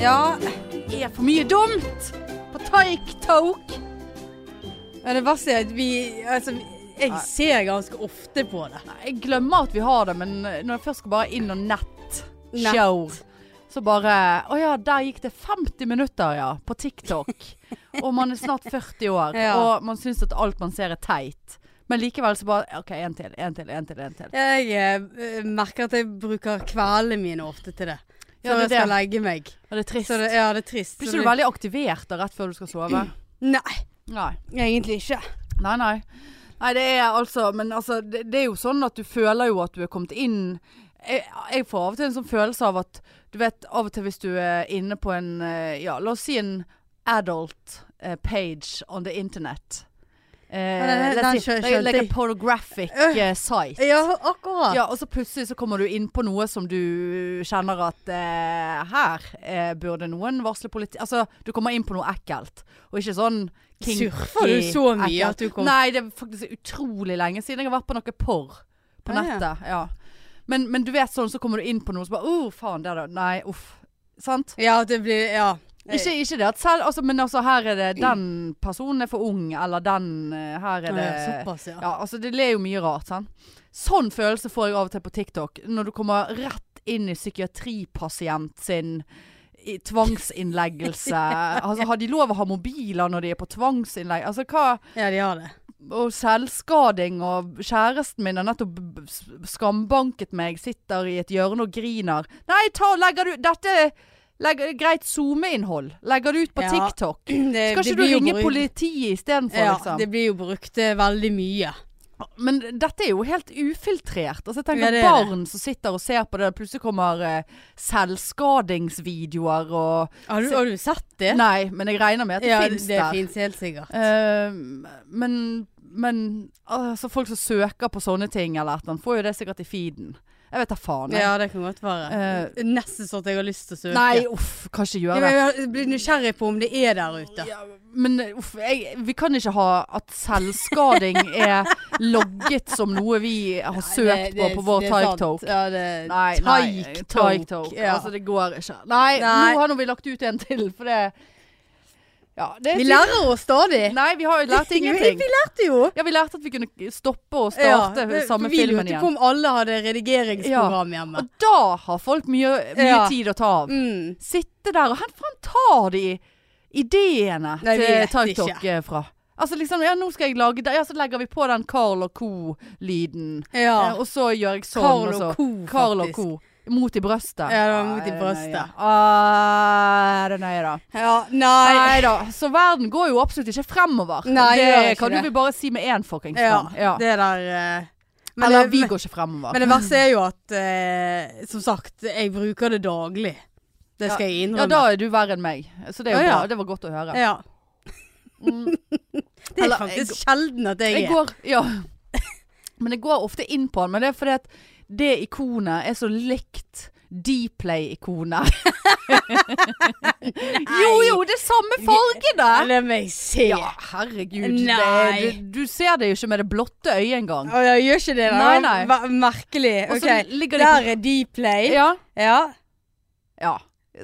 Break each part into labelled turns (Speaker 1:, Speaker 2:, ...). Speaker 1: Ja, det er for mye dumt på TikTok. Men det verste er at vi Altså, jeg ser ganske ofte på det. Jeg glemmer at vi har det, men når jeg først skal bare inn og nett-show, så bare Å ja, der gikk det 50 minutter, ja. På TikTok. og man er snart 40 år,
Speaker 2: Ja.
Speaker 1: og man syns at alt man ser er teit. Men likevel så bare OK, en til, en til, en til. En til.
Speaker 2: Jeg eh, merker at jeg bruker kveldene mine ofte til det.
Speaker 1: Ja,
Speaker 2: Før
Speaker 1: det er
Speaker 2: jeg skal
Speaker 1: det.
Speaker 2: legge meg.
Speaker 1: Og det er trist.
Speaker 2: Så det, ja, det er trist.
Speaker 1: Blir
Speaker 2: Så
Speaker 1: ikke du
Speaker 2: det-
Speaker 1: veldig aktivert da rett før du skal sove?
Speaker 2: Nei,
Speaker 1: Nei.
Speaker 2: egentlig ikke.
Speaker 1: Nei, nei. Nei, det er altså Men altså, det, det er jo sånn at du føler jo at du er kommet inn jeg, jeg får av og til en sånn følelse av at Du vet, av og til hvis du er inne på en eh, Ja, la oss si en adult eh, page on the internet. Eh,
Speaker 2: den-
Speaker 1: let's
Speaker 2: den
Speaker 1: si-
Speaker 2: skjø-
Speaker 1: like-
Speaker 2: skjønte
Speaker 1: Like a
Speaker 2: jeg. Øh.
Speaker 1: pornographic eh, site.
Speaker 2: Ja, akkurat.
Speaker 1: Ja, og så plutselig så kommer du inn på noe som du kjenner at eh, her eh, burde noen varsle politi... Altså, du kommer inn på noe ekkelt, og ikke sånn kinky
Speaker 2: Surfer du så mye
Speaker 1: ekkelt.
Speaker 2: at du kom-
Speaker 1: Nei, det er faktisk utrolig lenge siden jeg har vært på noe porr på
Speaker 2: Ah, ja.
Speaker 1: nettet. Ja. Men, men du vet sånn, så kommer du inn på noe som bare Å, faen, det er det Nei, uff. Sant?
Speaker 2: Ja, at det blir Ja.
Speaker 1: Ikke, ikke det at selv altså, Men altså, her er det den personen er for ung, eller den eh, Her er det
Speaker 2: Ja, Såpass, ja.
Speaker 1: ja, altså det er jo mye rart, sant? Sånn følelse får jeg av og til på TikTok, når du kommer rett inn i psykiatripasient sin i tvangsinnleggelse. altså, har de lov å ha mobiler når de er på tvangsinnlegg? Altså, hva
Speaker 2: Ja, de har det.
Speaker 1: Og selvskading, og kjæresten min har nettopp b- b- s- skambanket meg, sitter i et hjørne og griner. Nei, ta og legger du Dette legger, greit SoMe-innhold. Legger du ut på
Speaker 2: Ja.
Speaker 1: TikTok?
Speaker 2: det
Speaker 1: Skal
Speaker 2: det
Speaker 1: ikke du
Speaker 2: blir jo
Speaker 1: ringe
Speaker 2: brukt-
Speaker 1: politiet istedenfor,
Speaker 2: Ja,
Speaker 1: liksom?
Speaker 2: det blir jo brukt eh, veldig mye.
Speaker 1: Men dette er jo helt ufiltrert. Altså, jeg
Speaker 2: Ja,
Speaker 1: tenker
Speaker 2: det er
Speaker 1: barn som sitter og ser på det, og plutselig kommer eh, selvskadingsvideoer og
Speaker 2: Har du,
Speaker 1: Så-
Speaker 2: har du sett det?
Speaker 1: Nei, men jeg regner med at det
Speaker 2: ja,
Speaker 1: fins
Speaker 2: det
Speaker 1: der.
Speaker 2: fins helt sikkert.
Speaker 1: Eh, men men altså, folk som søker på sånne ting eller et eller annet, får jo det sikkert i feeden. Jeg vet da faen. jeg.
Speaker 2: Ja, det kan godt være. Nesten sånn at jeg har lyst til å søke.
Speaker 1: Eh. Nei, uff, kan ikke
Speaker 2: Ja,
Speaker 1: gjøre det.
Speaker 2: men jeg blir nysgjerrig på om det er der ute.
Speaker 1: Ja, men uff, jeg, vi kan ikke ha at selvskading er logget som noe vi har søkt på på vår TikTok.
Speaker 2: Ja, det
Speaker 1: Nei, nei, TikTok.
Speaker 2: Ja.
Speaker 1: Altså, det går ikke. Nei,
Speaker 2: Nei.
Speaker 1: nå har nå vi lagt ut en til, for det Ja, det er
Speaker 2: vi
Speaker 1: tydelig-
Speaker 2: lærer oss stadig.
Speaker 1: Nei, vi har jo lært ingenting.
Speaker 2: Vi lærte jo.
Speaker 1: Ja, vi lærte at vi kunne stoppe og starte
Speaker 2: det-
Speaker 1: samme
Speaker 2: vi
Speaker 1: filmen
Speaker 2: lurte på
Speaker 1: igjen.
Speaker 2: om alle hadde redigeringsprogram hjemme.
Speaker 1: Og da har folk mye, mye
Speaker 2: Ja.
Speaker 1: tid å ta av.
Speaker 2: Mm.
Speaker 1: Sitte der, og hvor faen tar de ideene
Speaker 2: Nei, vi
Speaker 1: til
Speaker 2: vet
Speaker 1: TikTok eh, fra? Altså liksom, ja, nå skal jeg lage det. Ja, så legger vi på den Carl og co.-lyden.
Speaker 2: Ja.
Speaker 1: Eh, Og så gjør jeg sånn,
Speaker 2: Carl
Speaker 1: og så
Speaker 2: og co,
Speaker 1: Karl og
Speaker 2: faktisk.
Speaker 1: co. Mot i brøstet.
Speaker 2: Ja, det var mot i
Speaker 1: Nei, nei,
Speaker 2: brøstet.
Speaker 1: ja. Ah, det er nøye, da.
Speaker 2: Ja, nei.
Speaker 1: Nei da. Så verden går jo absolutt ikke fremover.
Speaker 2: Nei,
Speaker 1: det
Speaker 2: gjør ikke
Speaker 1: kan
Speaker 2: det.
Speaker 1: du vel bare si med én fuckings
Speaker 2: Ja,
Speaker 1: gang. Ja.
Speaker 2: det der eh, men
Speaker 1: Eller
Speaker 2: det-
Speaker 1: vi går ikke fremover.
Speaker 2: Men det verste er jo at, eh, som sagt, jeg bruker det daglig. Det skal jeg
Speaker 1: ja, da
Speaker 2: innrømme.
Speaker 1: er du verre enn meg. Så det er jo
Speaker 2: Ja, ja.
Speaker 1: bra. Det var godt å høre.
Speaker 2: Ja.
Speaker 1: Mm.
Speaker 2: Det er
Speaker 1: Eller,
Speaker 2: faktisk sjelden at jeg
Speaker 1: Jeg
Speaker 2: er.
Speaker 1: går, ja. Men jeg går ofte inn på den, men det er fordi at det ikonet er så likt Dplay-ikonet. jo, jo, det er samme fargene!
Speaker 2: Ja, Det må jeg se.
Speaker 1: Ja, herregud.
Speaker 2: Nei.
Speaker 1: Det, du, du ser det jo ikke med det blotte øyet engang.
Speaker 2: Å, jeg gjør ikke det. da.
Speaker 1: Nei, nei.
Speaker 2: Hva- Merkelig.
Speaker 1: Og så
Speaker 2: Ok,
Speaker 1: ligger de
Speaker 2: der er Dplay. Ja.
Speaker 1: Ja.
Speaker 2: Ja.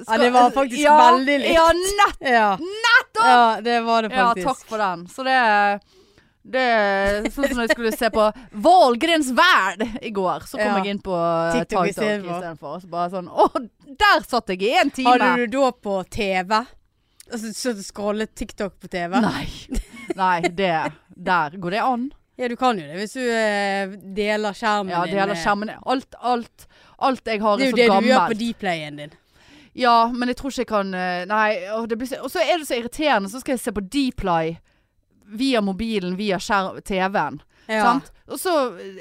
Speaker 1: ja.
Speaker 2: det var faktisk
Speaker 1: Ja,
Speaker 2: veldig likt.
Speaker 1: Ja, nett.
Speaker 2: Nettopp! Ja, det var det
Speaker 1: Ja,
Speaker 2: faktisk.
Speaker 1: takk for den. Så det det er sånn som når jeg skulle se på Valgrens verd i går, så kom
Speaker 2: Ja.
Speaker 1: jeg inn på eh,
Speaker 2: TikTok
Speaker 1: TikTok
Speaker 2: i stedet for.
Speaker 1: istedenfor. Og så bare sånn Å, der satt jeg i en time!
Speaker 2: Hadde du da på TV? Altså, så du scrollet TikTok på TV?
Speaker 1: Nei. Nei, det Der går det an.
Speaker 2: Ja, du kan jo det hvis du eh, deler skjermen
Speaker 1: Ja, det
Speaker 2: din.
Speaker 1: gjelder
Speaker 2: eh,
Speaker 1: skjermen. Alt, alt, alt jeg har er
Speaker 2: Det er jo
Speaker 1: så
Speaker 2: det du gjør på
Speaker 1: gammelt.
Speaker 2: Dplayen din.
Speaker 1: Ja, men jeg tror ikke jeg kan eh, Nei. åh, det blir så- Og så er det så irriterende. Så skal jeg se på Dply via mobilen, via skjerm- TV-en.
Speaker 2: Ja.
Speaker 1: Sant? Og så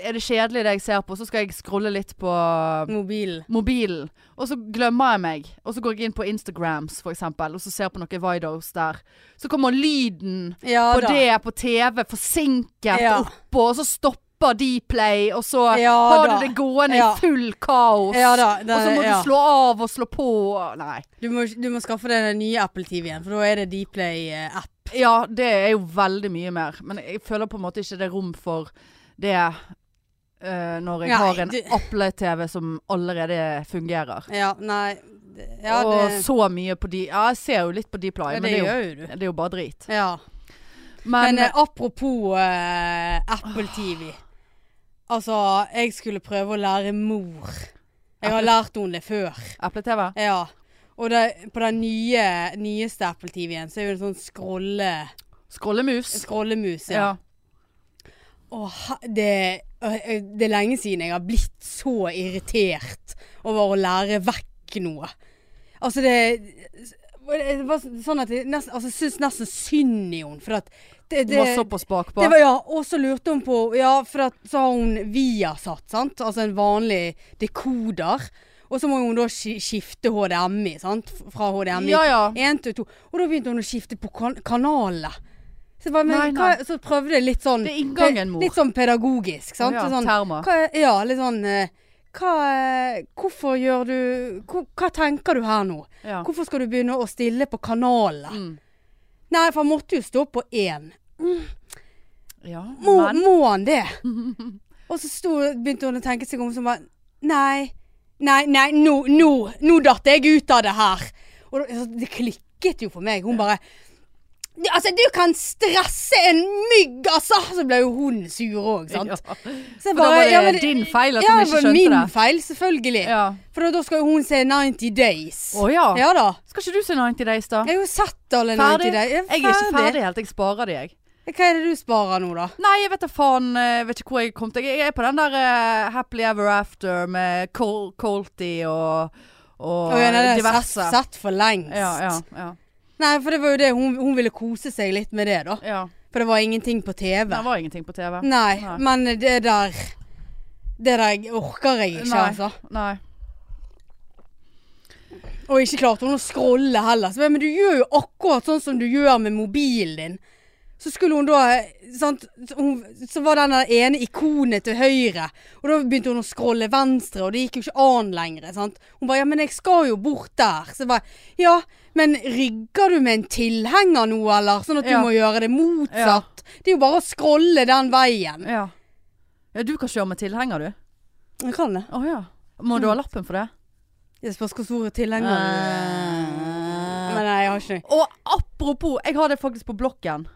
Speaker 1: er det kjedelig det jeg ser på, så skal jeg scrolle litt på um,
Speaker 2: Mobilen.
Speaker 1: mobilen. Og så glemmer jeg meg. Og så går jeg inn på Instagrams for eksempel, og så ser på noen videos der. Så kommer lyden
Speaker 2: Ja
Speaker 1: på
Speaker 2: da.
Speaker 1: det på TV forsinket
Speaker 2: Ja.
Speaker 1: oppå, og så stopper Dplay, og så
Speaker 2: Ja
Speaker 1: har
Speaker 2: da.
Speaker 1: du det gående
Speaker 2: Ja.
Speaker 1: i full kaos.
Speaker 2: Ja da, det-
Speaker 1: og så må
Speaker 2: ja.
Speaker 1: du slå av og slå på. Nei.
Speaker 2: Du må, du må skaffe deg den nye Apple TV-en, for da er det eh, Dplay-app.
Speaker 1: Ja, det er jo veldig mye mer. Men jeg føler på en måte ikke det er rom for det eh, når jeg
Speaker 2: Nei,
Speaker 1: har en
Speaker 2: du-
Speaker 1: Apple-TV som allerede fungerer.
Speaker 2: Ja, nei, Ja,
Speaker 1: og
Speaker 2: det,
Speaker 1: så mye på de Ja, jeg ser jo litt på Deep Line,
Speaker 2: ja,
Speaker 1: men
Speaker 2: det
Speaker 1: det er,
Speaker 2: gjør jo du.
Speaker 1: jo, det er jo bare drit.
Speaker 2: Ja.
Speaker 1: Men,
Speaker 2: Men eh, apropos eh, Apple TV. Altså, jeg skulle prøve å lære mor. Jeg har lært henne det før.
Speaker 1: Apple-TV?
Speaker 2: Ja. Og det, på den nye, nyeste Apple TV-en så er jo det sånn scrolle,
Speaker 1: Scrollemus?
Speaker 2: scrollemus. Ja.
Speaker 1: Ja.
Speaker 2: Åh, he- det, øh, øh, det er lenge siden jeg har blitt så irritert over å lære vekk noe. Altså det det var sånn at jeg nesten, altså, syns nesten synd i henne. For at det,
Speaker 1: Du
Speaker 2: det,
Speaker 1: må såpass bakpå.
Speaker 2: det var, ja, og så lurte hun på Ja, for at, så har hun Viasat, sant? Altså en vanlig dekoder. Og så må hun da sk- skifte HDMI, sant? F- Fra HDMI
Speaker 1: Ja, ja.
Speaker 2: til 1 til 2. Og da begynte hun å skifte på kan kanalene. Så, jeg bare, men,
Speaker 1: Nei, nei.
Speaker 2: Hva, så prøvde jeg litt sånn
Speaker 1: Det er inngangen, mor.
Speaker 2: Litt sånn pedagogisk, sant?
Speaker 1: Ja,
Speaker 2: sånn,
Speaker 1: termer.
Speaker 2: hva, er- ja, litt sånn eh, hva, eh, Hvorfor gjør du hvor, Hva tenker du her nå?
Speaker 1: Ja.
Speaker 2: Hvorfor skal du begynne å stille på kanalene?
Speaker 1: Mm.
Speaker 2: Nei, for han måtte jo stå på én.
Speaker 1: Ja,
Speaker 2: Må,
Speaker 1: men
Speaker 2: må han det? Og så sto, begynte hun å tenke seg om som bare Nei, nei, nei, nå, nå, nå datt jeg ut av det her. Og da- altså, det klikket jo for meg. Hun bare «Du- Altså, du kan stresse en mygg, altså! Så ble jo hun sur òg, sant.
Speaker 1: Ja.
Speaker 2: Så
Speaker 1: For
Speaker 2: jeg
Speaker 1: da var det
Speaker 2: ja, men-
Speaker 1: din feil at
Speaker 2: ja,
Speaker 1: hun ikke
Speaker 2: var
Speaker 1: skjønte
Speaker 2: Min
Speaker 1: det.
Speaker 2: feil, selvfølgelig.
Speaker 1: Ja.
Speaker 2: For da- da skal jo hun se 90 Days.
Speaker 1: Å ja.
Speaker 2: Ja da.
Speaker 1: Skal ikke du se 90 Days, da?
Speaker 2: Jeg har jo sett alle 90
Speaker 1: Ferdig?
Speaker 2: Days.
Speaker 1: Jeg er ikke ferdig helt. Jeg sparer det, jeg.
Speaker 2: Hva er det du sparer nå, da?
Speaker 1: Nei, jeg vet da faen. Jeg vet ikke hvor jeg kom til. Jeg er på den der eh, Happily Ever After med Col Colty og, og
Speaker 2: Å, ja, nei, det er
Speaker 1: diverse.
Speaker 2: Sett, sett for lengst.
Speaker 1: Ja, ja, ja,
Speaker 2: Nei, for det var jo det. Hun, hun ville kose seg litt med det, da.
Speaker 1: ja.
Speaker 2: For det var ingenting på TV.
Speaker 1: Det var ingenting på TV.
Speaker 2: Nei,
Speaker 1: Nei.
Speaker 2: men det der Det der orker jeg ikke,
Speaker 1: Nei.
Speaker 2: altså.
Speaker 1: Nei.
Speaker 2: Og ikke klarte hun å scrolle heller. Så, jeg, men du gjør jo akkurat sånn som du gjør med mobilen din. Så skulle hun da eh, sant, så hun, Så var den der ene ikonet til høyre, og da begynte hun å scrolle venstre, og det gikk jo ikke an lenger. Sant? Hun bare 'Ja, men jeg skal jo bort der'. Så jeg bare 'Ja, men rygger du med en tilhenger nå, eller?' Sånn at du
Speaker 1: Ja.
Speaker 2: må gjøre det motsatt. Det er jo bare å scrolle den veien.
Speaker 1: Ja. ja. Du kan kjøre med tilhenger, du.
Speaker 2: Jeg kan det.
Speaker 1: Å ja. Må du ha lappen for det?
Speaker 2: Det spørs hvor store tilhengere du
Speaker 1: Eh.
Speaker 2: er. Men nei, jeg har ikke noe.
Speaker 1: Og apropos, jeg har det faktisk på blokken.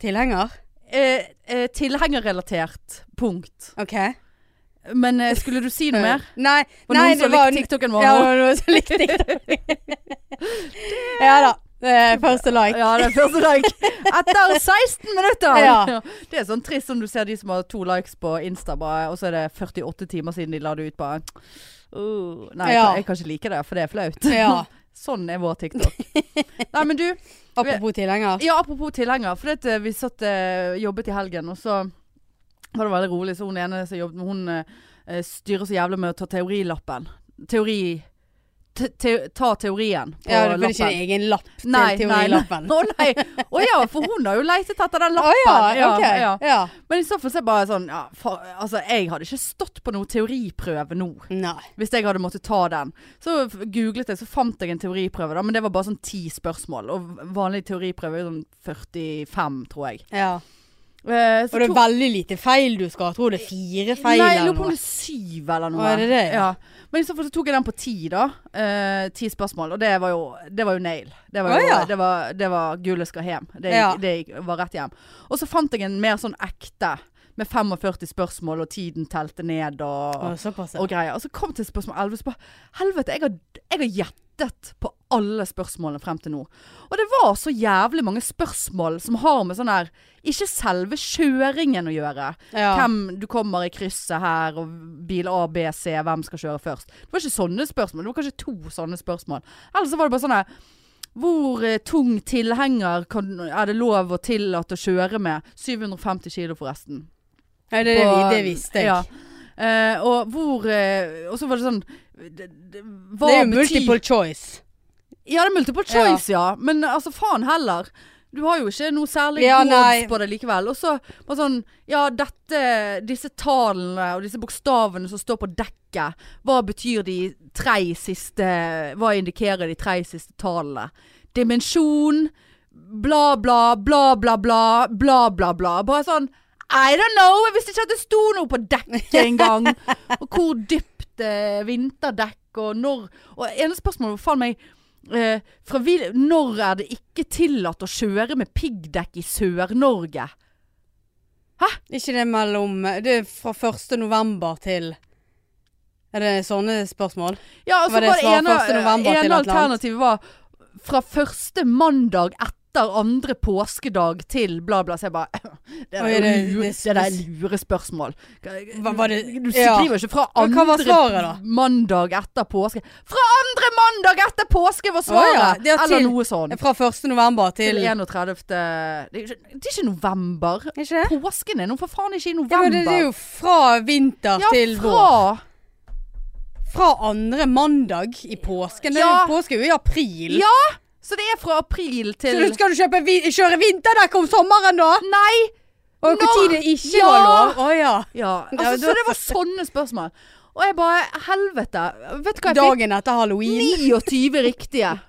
Speaker 2: Tilhenger?
Speaker 1: Eh, eh, tilhengerrelatert punkt.
Speaker 2: OK.
Speaker 1: Men eh, skulle du si noe mer?
Speaker 2: Nei,
Speaker 1: Var det
Speaker 2: nei
Speaker 1: noen som likte TikToken vår
Speaker 2: Ja,
Speaker 1: nå?
Speaker 2: det var noen som likte TikTok. ja da. eh, Første like.
Speaker 1: Ja, det er første like. Etter 16 minutter!
Speaker 2: Ja.
Speaker 1: Det er sånn trist som du ser de som har to likes på Insta, bare, og så er det 48 timer siden de la det ut. Bare uh, Nei, jeg,
Speaker 2: Ja.
Speaker 1: kan, jeg kan ikke like det, for det er flaut.
Speaker 2: Ja.
Speaker 1: Sånn er vår TikTok. Nei, men du.
Speaker 2: Apropos tilhenger.
Speaker 1: Ja, apropos tilhenger. For det, vi satt eh, jobbet i helgen, og så var det veldig rolig. Så hun ene som jobbet med, hun eh, styrer så jævlig med å ta teorilappen. Teori... Te, te, ta teorien på
Speaker 2: Ja, du får
Speaker 1: lappen.
Speaker 2: ikke en egen lapp til
Speaker 1: Nei,
Speaker 2: teorilappen.
Speaker 1: Nei, nei. Å nei. Å ja, for hun har jo leitet etter den
Speaker 2: Å
Speaker 1: lappen.
Speaker 2: ja, ok. Ja,
Speaker 1: Men i så fall så er det bare sånn ja, fa- Altså, jeg hadde ikke stått på noen teoriprøve nå.
Speaker 2: Nei.
Speaker 1: Hvis jeg hadde måttet ta den. Så f- googlet jeg, så fant jeg en teoriprøve, da, men det var bare sånn ti spørsmål. Og vanlig teoriprøve er sånn 45, tror jeg.
Speaker 2: Ja.
Speaker 1: Eh,
Speaker 2: Og det er
Speaker 1: tok-
Speaker 2: veldig lite feil du skal ha. Jeg tror det er fire feil
Speaker 1: Nei, jeg
Speaker 2: eller
Speaker 1: lurer på om
Speaker 2: noe.
Speaker 1: det er syv eller noe.
Speaker 2: Å, er det det?
Speaker 1: Ja. Men i så fall så tok jeg den på ti, da. Eh, ti spørsmål. Og det var jo, det var jo nail. Det var,
Speaker 2: Å,
Speaker 1: jo,
Speaker 2: ja.
Speaker 1: det var, det var gullet skal hjem. Det, gikk-
Speaker 2: Ja.
Speaker 1: det gikk- var rett hjem. Og så fant jeg en mer sånn ekte med 45 spørsmål, og tiden telte ned og,
Speaker 2: Å, Såpass. ja.
Speaker 1: og greier. Og så kom til spørsmål 11, så bare Helvete, jeg har, jeg har gjettet på alle spørsmålene frem til nå. Og det var så jævlig mange spørsmål som har med sånn her Ikke selve kjøringen å gjøre.
Speaker 2: Ja.
Speaker 1: Hvem du kommer i krysset her, og bil A, B, C, hvem skal kjøre først? Det var ikke sånne spørsmål. Det var kanskje to sånne spørsmål. Ellers så var det bare sånn her hvor eh, tung tilhenger kan, er det lov å tillate å kjøre med? 750 kilo forresten
Speaker 2: Nei, det, det,
Speaker 1: på-
Speaker 2: det visste jeg.
Speaker 1: Ja. Eh, og hvor eh, Og så var det sånn det, det, hva
Speaker 2: Det er jo
Speaker 1: bety-
Speaker 2: multiple choice.
Speaker 1: Ja, det er multiple choice, ja. Men altså, faen heller. Du har jo ikke noe særlig
Speaker 2: Ja,
Speaker 1: odds
Speaker 2: nei.
Speaker 1: på det likevel. Og så bare sånn Ja, dette Disse tallene og disse bokstavene som står på dekket, hva betyr de tre siste Hva indikerer de tre siste tallene? Dimensjon, bla, bla, bla, bla, bla, bla, bla, bla. Bare sånn I don't know! Jeg visste ikke at det sto noe på dekket engang. Og hvor dypt eh, vinterdekk og når Og ene spørsmålet var faen meg eh, fra hvil, Når er det ikke tillatt å kjøre med piggdekk i Sør-Norge?
Speaker 2: Ikke det mellom Det er fra 1. november til Er det sånne spørsmål?
Speaker 1: Ja, altså
Speaker 2: Var det
Speaker 1: var det
Speaker 2: svar
Speaker 1: ene,
Speaker 2: 1. november til et
Speaker 1: ene
Speaker 2: eller annet?
Speaker 1: alternativet var fra første mandag etter andre påskedag til bla, bla. Så jeg bare Det
Speaker 2: Oi,
Speaker 1: er
Speaker 2: det-
Speaker 1: lure, det,
Speaker 2: det-
Speaker 1: der lurespørsmål.
Speaker 2: Hva var det-
Speaker 1: Du
Speaker 2: ja.
Speaker 1: skriver ikke fra
Speaker 2: Men hva var svaret
Speaker 1: andre
Speaker 2: da?
Speaker 1: mandag etter påske. Fra andre mandag etter påske var svaret!
Speaker 2: Å ja, det er
Speaker 1: Eller
Speaker 2: til-
Speaker 1: noe sånn.
Speaker 2: Fra 1. november til
Speaker 1: Til 31. Det er ikke, det er ikke november.
Speaker 2: Ikke det?
Speaker 1: Påsken er nå for faen ikke i
Speaker 2: Ja,
Speaker 1: november.
Speaker 2: men det, det er jo fra vinter til
Speaker 1: fra
Speaker 2: vår. Fra andre mandag i påsken. Det er
Speaker 1: Ja.
Speaker 2: jo påske er jo i april.
Speaker 1: Ja, Så det er fra april
Speaker 2: Så
Speaker 1: til
Speaker 2: du skal du kjøpe vi kjøre vinterdekk om sommeren, da?
Speaker 1: Nei!
Speaker 2: Og
Speaker 1: Når?
Speaker 2: når tid det ikke
Speaker 1: Ja.
Speaker 2: var lov? Å ja.
Speaker 1: Ja,
Speaker 2: Ja,
Speaker 1: altså,
Speaker 2: da-
Speaker 1: så det var sånne spørsmål. Og jeg bare Helvete. Vet du hva jeg
Speaker 2: Dagen etter halloween.
Speaker 1: fikk? 29 riktige.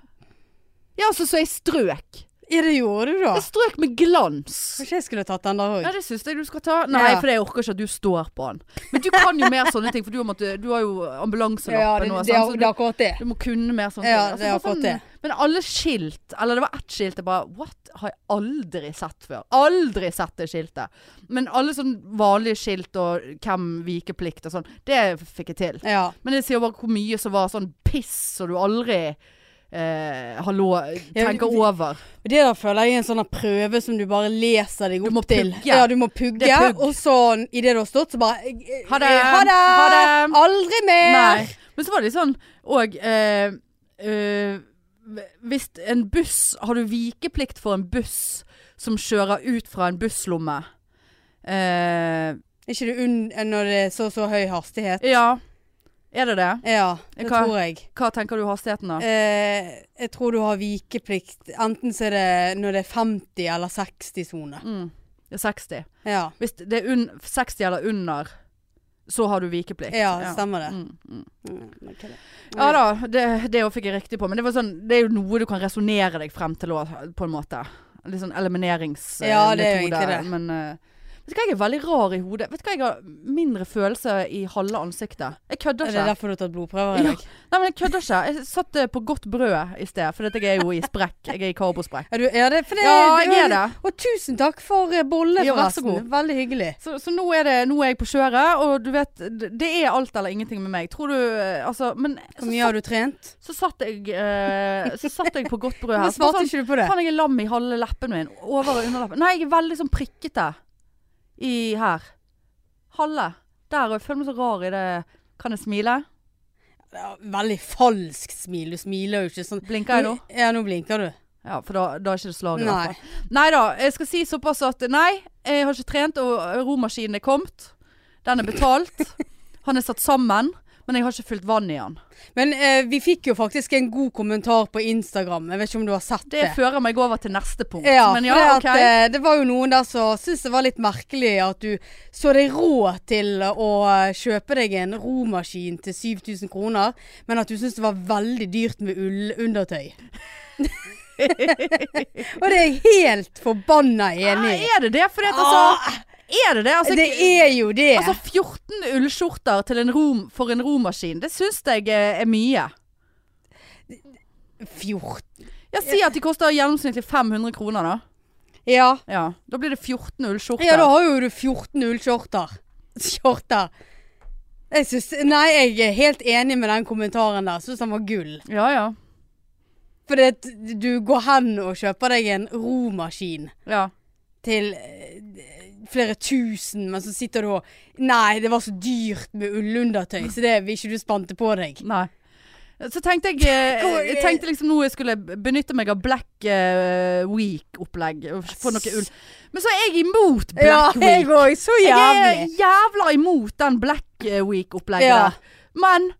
Speaker 1: Ja, altså, så jeg strøk.
Speaker 2: Ja, det gjorde du da.
Speaker 1: Jeg strøk med glans.
Speaker 2: Kanskje jeg skulle tatt den der
Speaker 1: Ja,
Speaker 2: òg.
Speaker 1: det syns jeg du skal ta. Nei,
Speaker 2: Ja.
Speaker 1: for jeg orker ikke at du står på den. Men du kan jo mer sånne ting, for du har, måttet, du har jo ambulanselappen nå.
Speaker 2: sånn,
Speaker 1: sant? Så du-
Speaker 2: akkurat det.
Speaker 1: du må kunne mer sånne
Speaker 2: Ja,
Speaker 1: ting. Altså,
Speaker 2: det er
Speaker 1: bare sånn-
Speaker 2: akkurat det.
Speaker 1: Men alle skilt, eller det var ett skilt, jeg bare What? Har jeg aldri sett før. Aldri sett det skiltet. Men alle sånn vanlige skilt og hvem vikeplikt og sånn, det fikk jeg til.
Speaker 2: Ja.
Speaker 1: Men jeg sier bare hvor mye som var sånn piss som du aldri eh, har lov
Speaker 2: Ja,
Speaker 1: tenker
Speaker 2: vi-
Speaker 1: over.
Speaker 2: Men Det der føler jeg er en sånn der prøve som du bare leser deg
Speaker 1: Du
Speaker 2: opp
Speaker 1: må
Speaker 2: til.
Speaker 1: pugge.
Speaker 2: Ja, du må pugge.
Speaker 1: Det er pugg.
Speaker 2: Og så idet du har stått, så bare eh,
Speaker 1: Ha det.
Speaker 2: eh, Ha det!
Speaker 1: Ha det.
Speaker 2: Aldri mer!
Speaker 1: Nei. Men så var det litt sånn Og eh, eh, Hvis en buss Har du vikeplikt for en buss Som kjører ut fra en busslomme eh,
Speaker 2: Ikke du unn når det er så så høy hastighet?
Speaker 1: Ja Er det det?
Speaker 2: Ja, det
Speaker 1: Hva-
Speaker 2: tror jeg.
Speaker 1: Hva tenker du hastigheten da?
Speaker 2: Eh, jeg tror du har vikeplikt. Enten så er det når det er 50 eller 60-sone.
Speaker 1: Mm, det er 60
Speaker 2: Ja.
Speaker 1: Hvis det er unn- 60 eller under Så har du vikeplikt
Speaker 2: ja, stemmer det.
Speaker 1: Mm, mm.
Speaker 2: Mm, ok det.
Speaker 1: Ja da, det, det også fikk jeg riktig på Men det, var sånn, det er jo noe du kan resonere deg frem til også, På en måte Litt sånn elimineringsmetode
Speaker 2: Ja, det er jo egentlig det.
Speaker 1: Men eh, vet du hva, jeg er veldig rar i hodet Vet du hva, jeg har mindre følelse i halve ansiktet Jeg kødder
Speaker 2: Er det
Speaker 1: ikke
Speaker 2: derfor du har tatt blodprøver i
Speaker 1: Ja.
Speaker 2: dag? Ja.
Speaker 1: Nei, men jeg kødder ikke Jeg satt eh, på godt brød i sted For dette jeg er jo i sprekk Jeg er i karbosprekk
Speaker 2: Er du, er det, for det,
Speaker 1: Ja, jeg
Speaker 2: det-
Speaker 1: er det.
Speaker 2: Og tusen takk for eh, bolle,
Speaker 1: Ja, vær så god.
Speaker 2: forresten. Veldig hyggelig.
Speaker 1: så, så nå, er det, nå er jeg på kjøret Og du vet, det det er alt eller ingenting med meg Tror du, eh, altså Men
Speaker 2: Hvor
Speaker 1: så,
Speaker 2: mye har du trent?
Speaker 1: så satt jeg eh, Så satt jeg på godt brød her
Speaker 2: Men
Speaker 1: så bare
Speaker 2: svarte ikke du på det?
Speaker 1: Faen, jeg er lam i halve leppen min. Over og underleppen. Nei, jeg er veldig sånn prikkete i her. Halve. Der. Og jeg føler meg så rar i det. Kan jeg smile?
Speaker 2: Ja, veldig falskt smil. Du smiler jo ikke sånn.
Speaker 1: Blinker jeg nå?
Speaker 2: Ja, nå blinker du.
Speaker 1: Ja, for da, da er ikke det slag i
Speaker 2: Nei.
Speaker 1: hvert fall. Nei da. Jeg skal si såpass at nei, jeg har ikke trent, og romaskinen er kommet. Den er betalt. Han er satt sammen. Men jeg har ikke fylt vann i han.
Speaker 2: Men eh, vi fikk jo faktisk en god kommentar på Instagram. Jeg vet ikke om du har sett
Speaker 1: Det
Speaker 2: det.
Speaker 1: fører meg over til neste punkt.
Speaker 2: Ja,
Speaker 1: men
Speaker 2: for
Speaker 1: ja,
Speaker 2: det, at,
Speaker 1: OK.
Speaker 2: eh, det var jo noen der som syntes det var litt merkelig at du så deg råd til å eh, kjøpe deg en romaskin til 7000 kroner, men at du syntes det var veldig dyrt med ullundertøy. Og det er jeg helt forbanna
Speaker 1: Ja,
Speaker 2: enig i.
Speaker 1: er det det? For altså Er det det? Altså,
Speaker 2: Det er jo det.
Speaker 1: Altså 14 ullskjorter til en rom, for en romaskin, det syns jeg eh, er mye.
Speaker 2: 14
Speaker 1: Ja, Si at de koster gjennomsnittlig 500 kroner, da.
Speaker 2: Ja.
Speaker 1: Ja, Da blir det 14 ullskjorter.
Speaker 2: ja, da har jo du 14 ullskjorter. Skjorter. Jeg synes, nei, jeg er helt enig med den kommentaren der. Syns han var gull.
Speaker 1: ja, ja.
Speaker 2: Fordi at du går hen og kjøper deg en romaskin
Speaker 1: ja.
Speaker 2: til eh, flere tusen, men så sitter du og Nei, det var så dyrt med ullundertøy, så det vil ikke du spante på deg.
Speaker 1: Nei. Så tenkte jeg, eh, jeg tenkte liksom nå jeg skulle benytte meg av Black eh, Week-opplegg. og Få noe ull. Men så er jeg imot Black Week.
Speaker 2: òg. Så
Speaker 1: Jeg er jævla imot den Black eh, Week-opplegget
Speaker 2: Ja.
Speaker 1: der. Men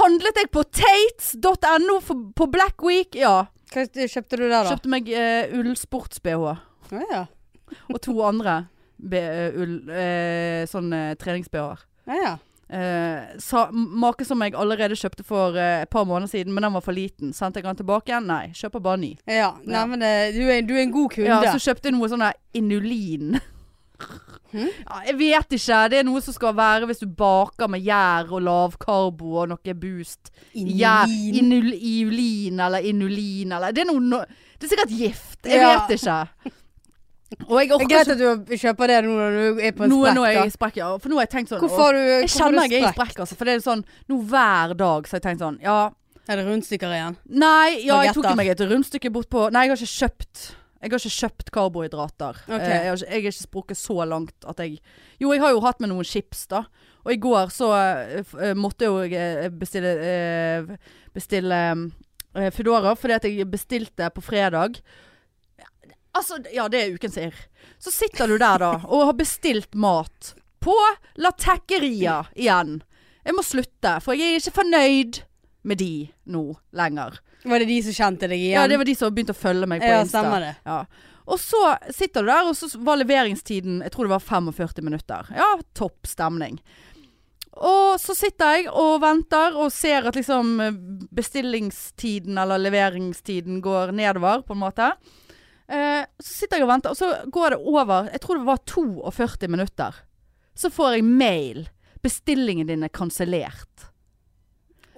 Speaker 1: handlet jeg på tates.no for- på Black Week? Ja.
Speaker 2: Hva kjøpte du der, da?
Speaker 1: Kjøpte meg uh, ullsports-BH
Speaker 2: Å, ja.
Speaker 1: og to andre be, eh, ull, eh, sånn eh, trenings-BH-er.
Speaker 2: Å, ja.
Speaker 1: Eh, sa- make som jeg allerede kjøpte for eh, et par måneder siden, men den var for liten. Sendte jeg den tilbake igjen? Nei, kjøper bare ny.
Speaker 2: ja. Nei, men eh, du er, du er en god kunde.
Speaker 1: Ja, så kjøpte jeg noe sånn der inulin.
Speaker 2: Hm?
Speaker 1: Ja, jeg vet ikke. Det er noe som skal være hvis du baker med gjær og lavkarbo og noe boost. Gjær-
Speaker 2: Inulin.
Speaker 1: Inul, iulin eller inulin eller Det er noe no, Det er sikkert gift. Jeg
Speaker 2: Ja.
Speaker 1: vet ikke. Og jeg
Speaker 2: Det er
Speaker 1: orker
Speaker 2: greit
Speaker 1: ikke
Speaker 2: at du kjøper det nå når du er på en
Speaker 1: noe
Speaker 2: sprekk.
Speaker 1: altså- nå er
Speaker 2: da.
Speaker 1: jeg sprekk. Ja. For nå har jeg tenkt sånn
Speaker 2: Hvorfor har du
Speaker 1: Jeg
Speaker 2: hvorfor har du
Speaker 1: kjenner jeg er i
Speaker 2: sprekk?
Speaker 1: sprekk, altså. For det er sånn nå hver dag så har jeg tenkt sånn Ja.
Speaker 2: Er det rundstykker igjen?
Speaker 1: Nei, ja, jeg tok
Speaker 2: Bagetter.
Speaker 1: meg et rundstykke bort på Nei, jeg har ikke kjøpt Jeg har ikke kjøpt karbohydrater. Eh,
Speaker 2: Ok.
Speaker 1: Jeg, har ikke, jeg er ikke sprukket så langt at jeg Jo, jeg har jo hatt med noen chips, da. Og i går så eh, f- eh, måtte jo jeg eh, bestille eh, Bestille eh, Foodora, fordi at jeg bestilte på fredag. Altså, ja, det er ukens irr. Så sitter du der da og har bestilt mat på Latekkeria igjen. Jeg må slutte, for jeg er ikke fornøyd med de nå lenger.
Speaker 2: Var det de som kjente deg igjen?
Speaker 1: Ja, det var de som begynte å følge meg på
Speaker 2: Ja,
Speaker 1: Insta.
Speaker 2: stemmer det.
Speaker 1: Ja. Og så sitter du der, og så var leveringstiden Jeg tror det var 45 minutter. Ja, topp stemning. Og så sitter jeg og venter og ser at liksom bestillingstiden eller leveringstiden går nedover, på en måte. Eh, så sitter jeg og venter, og så går det over Jeg tror det var 42 minutter. Så får jeg mail. Bestillingen din er kansellert.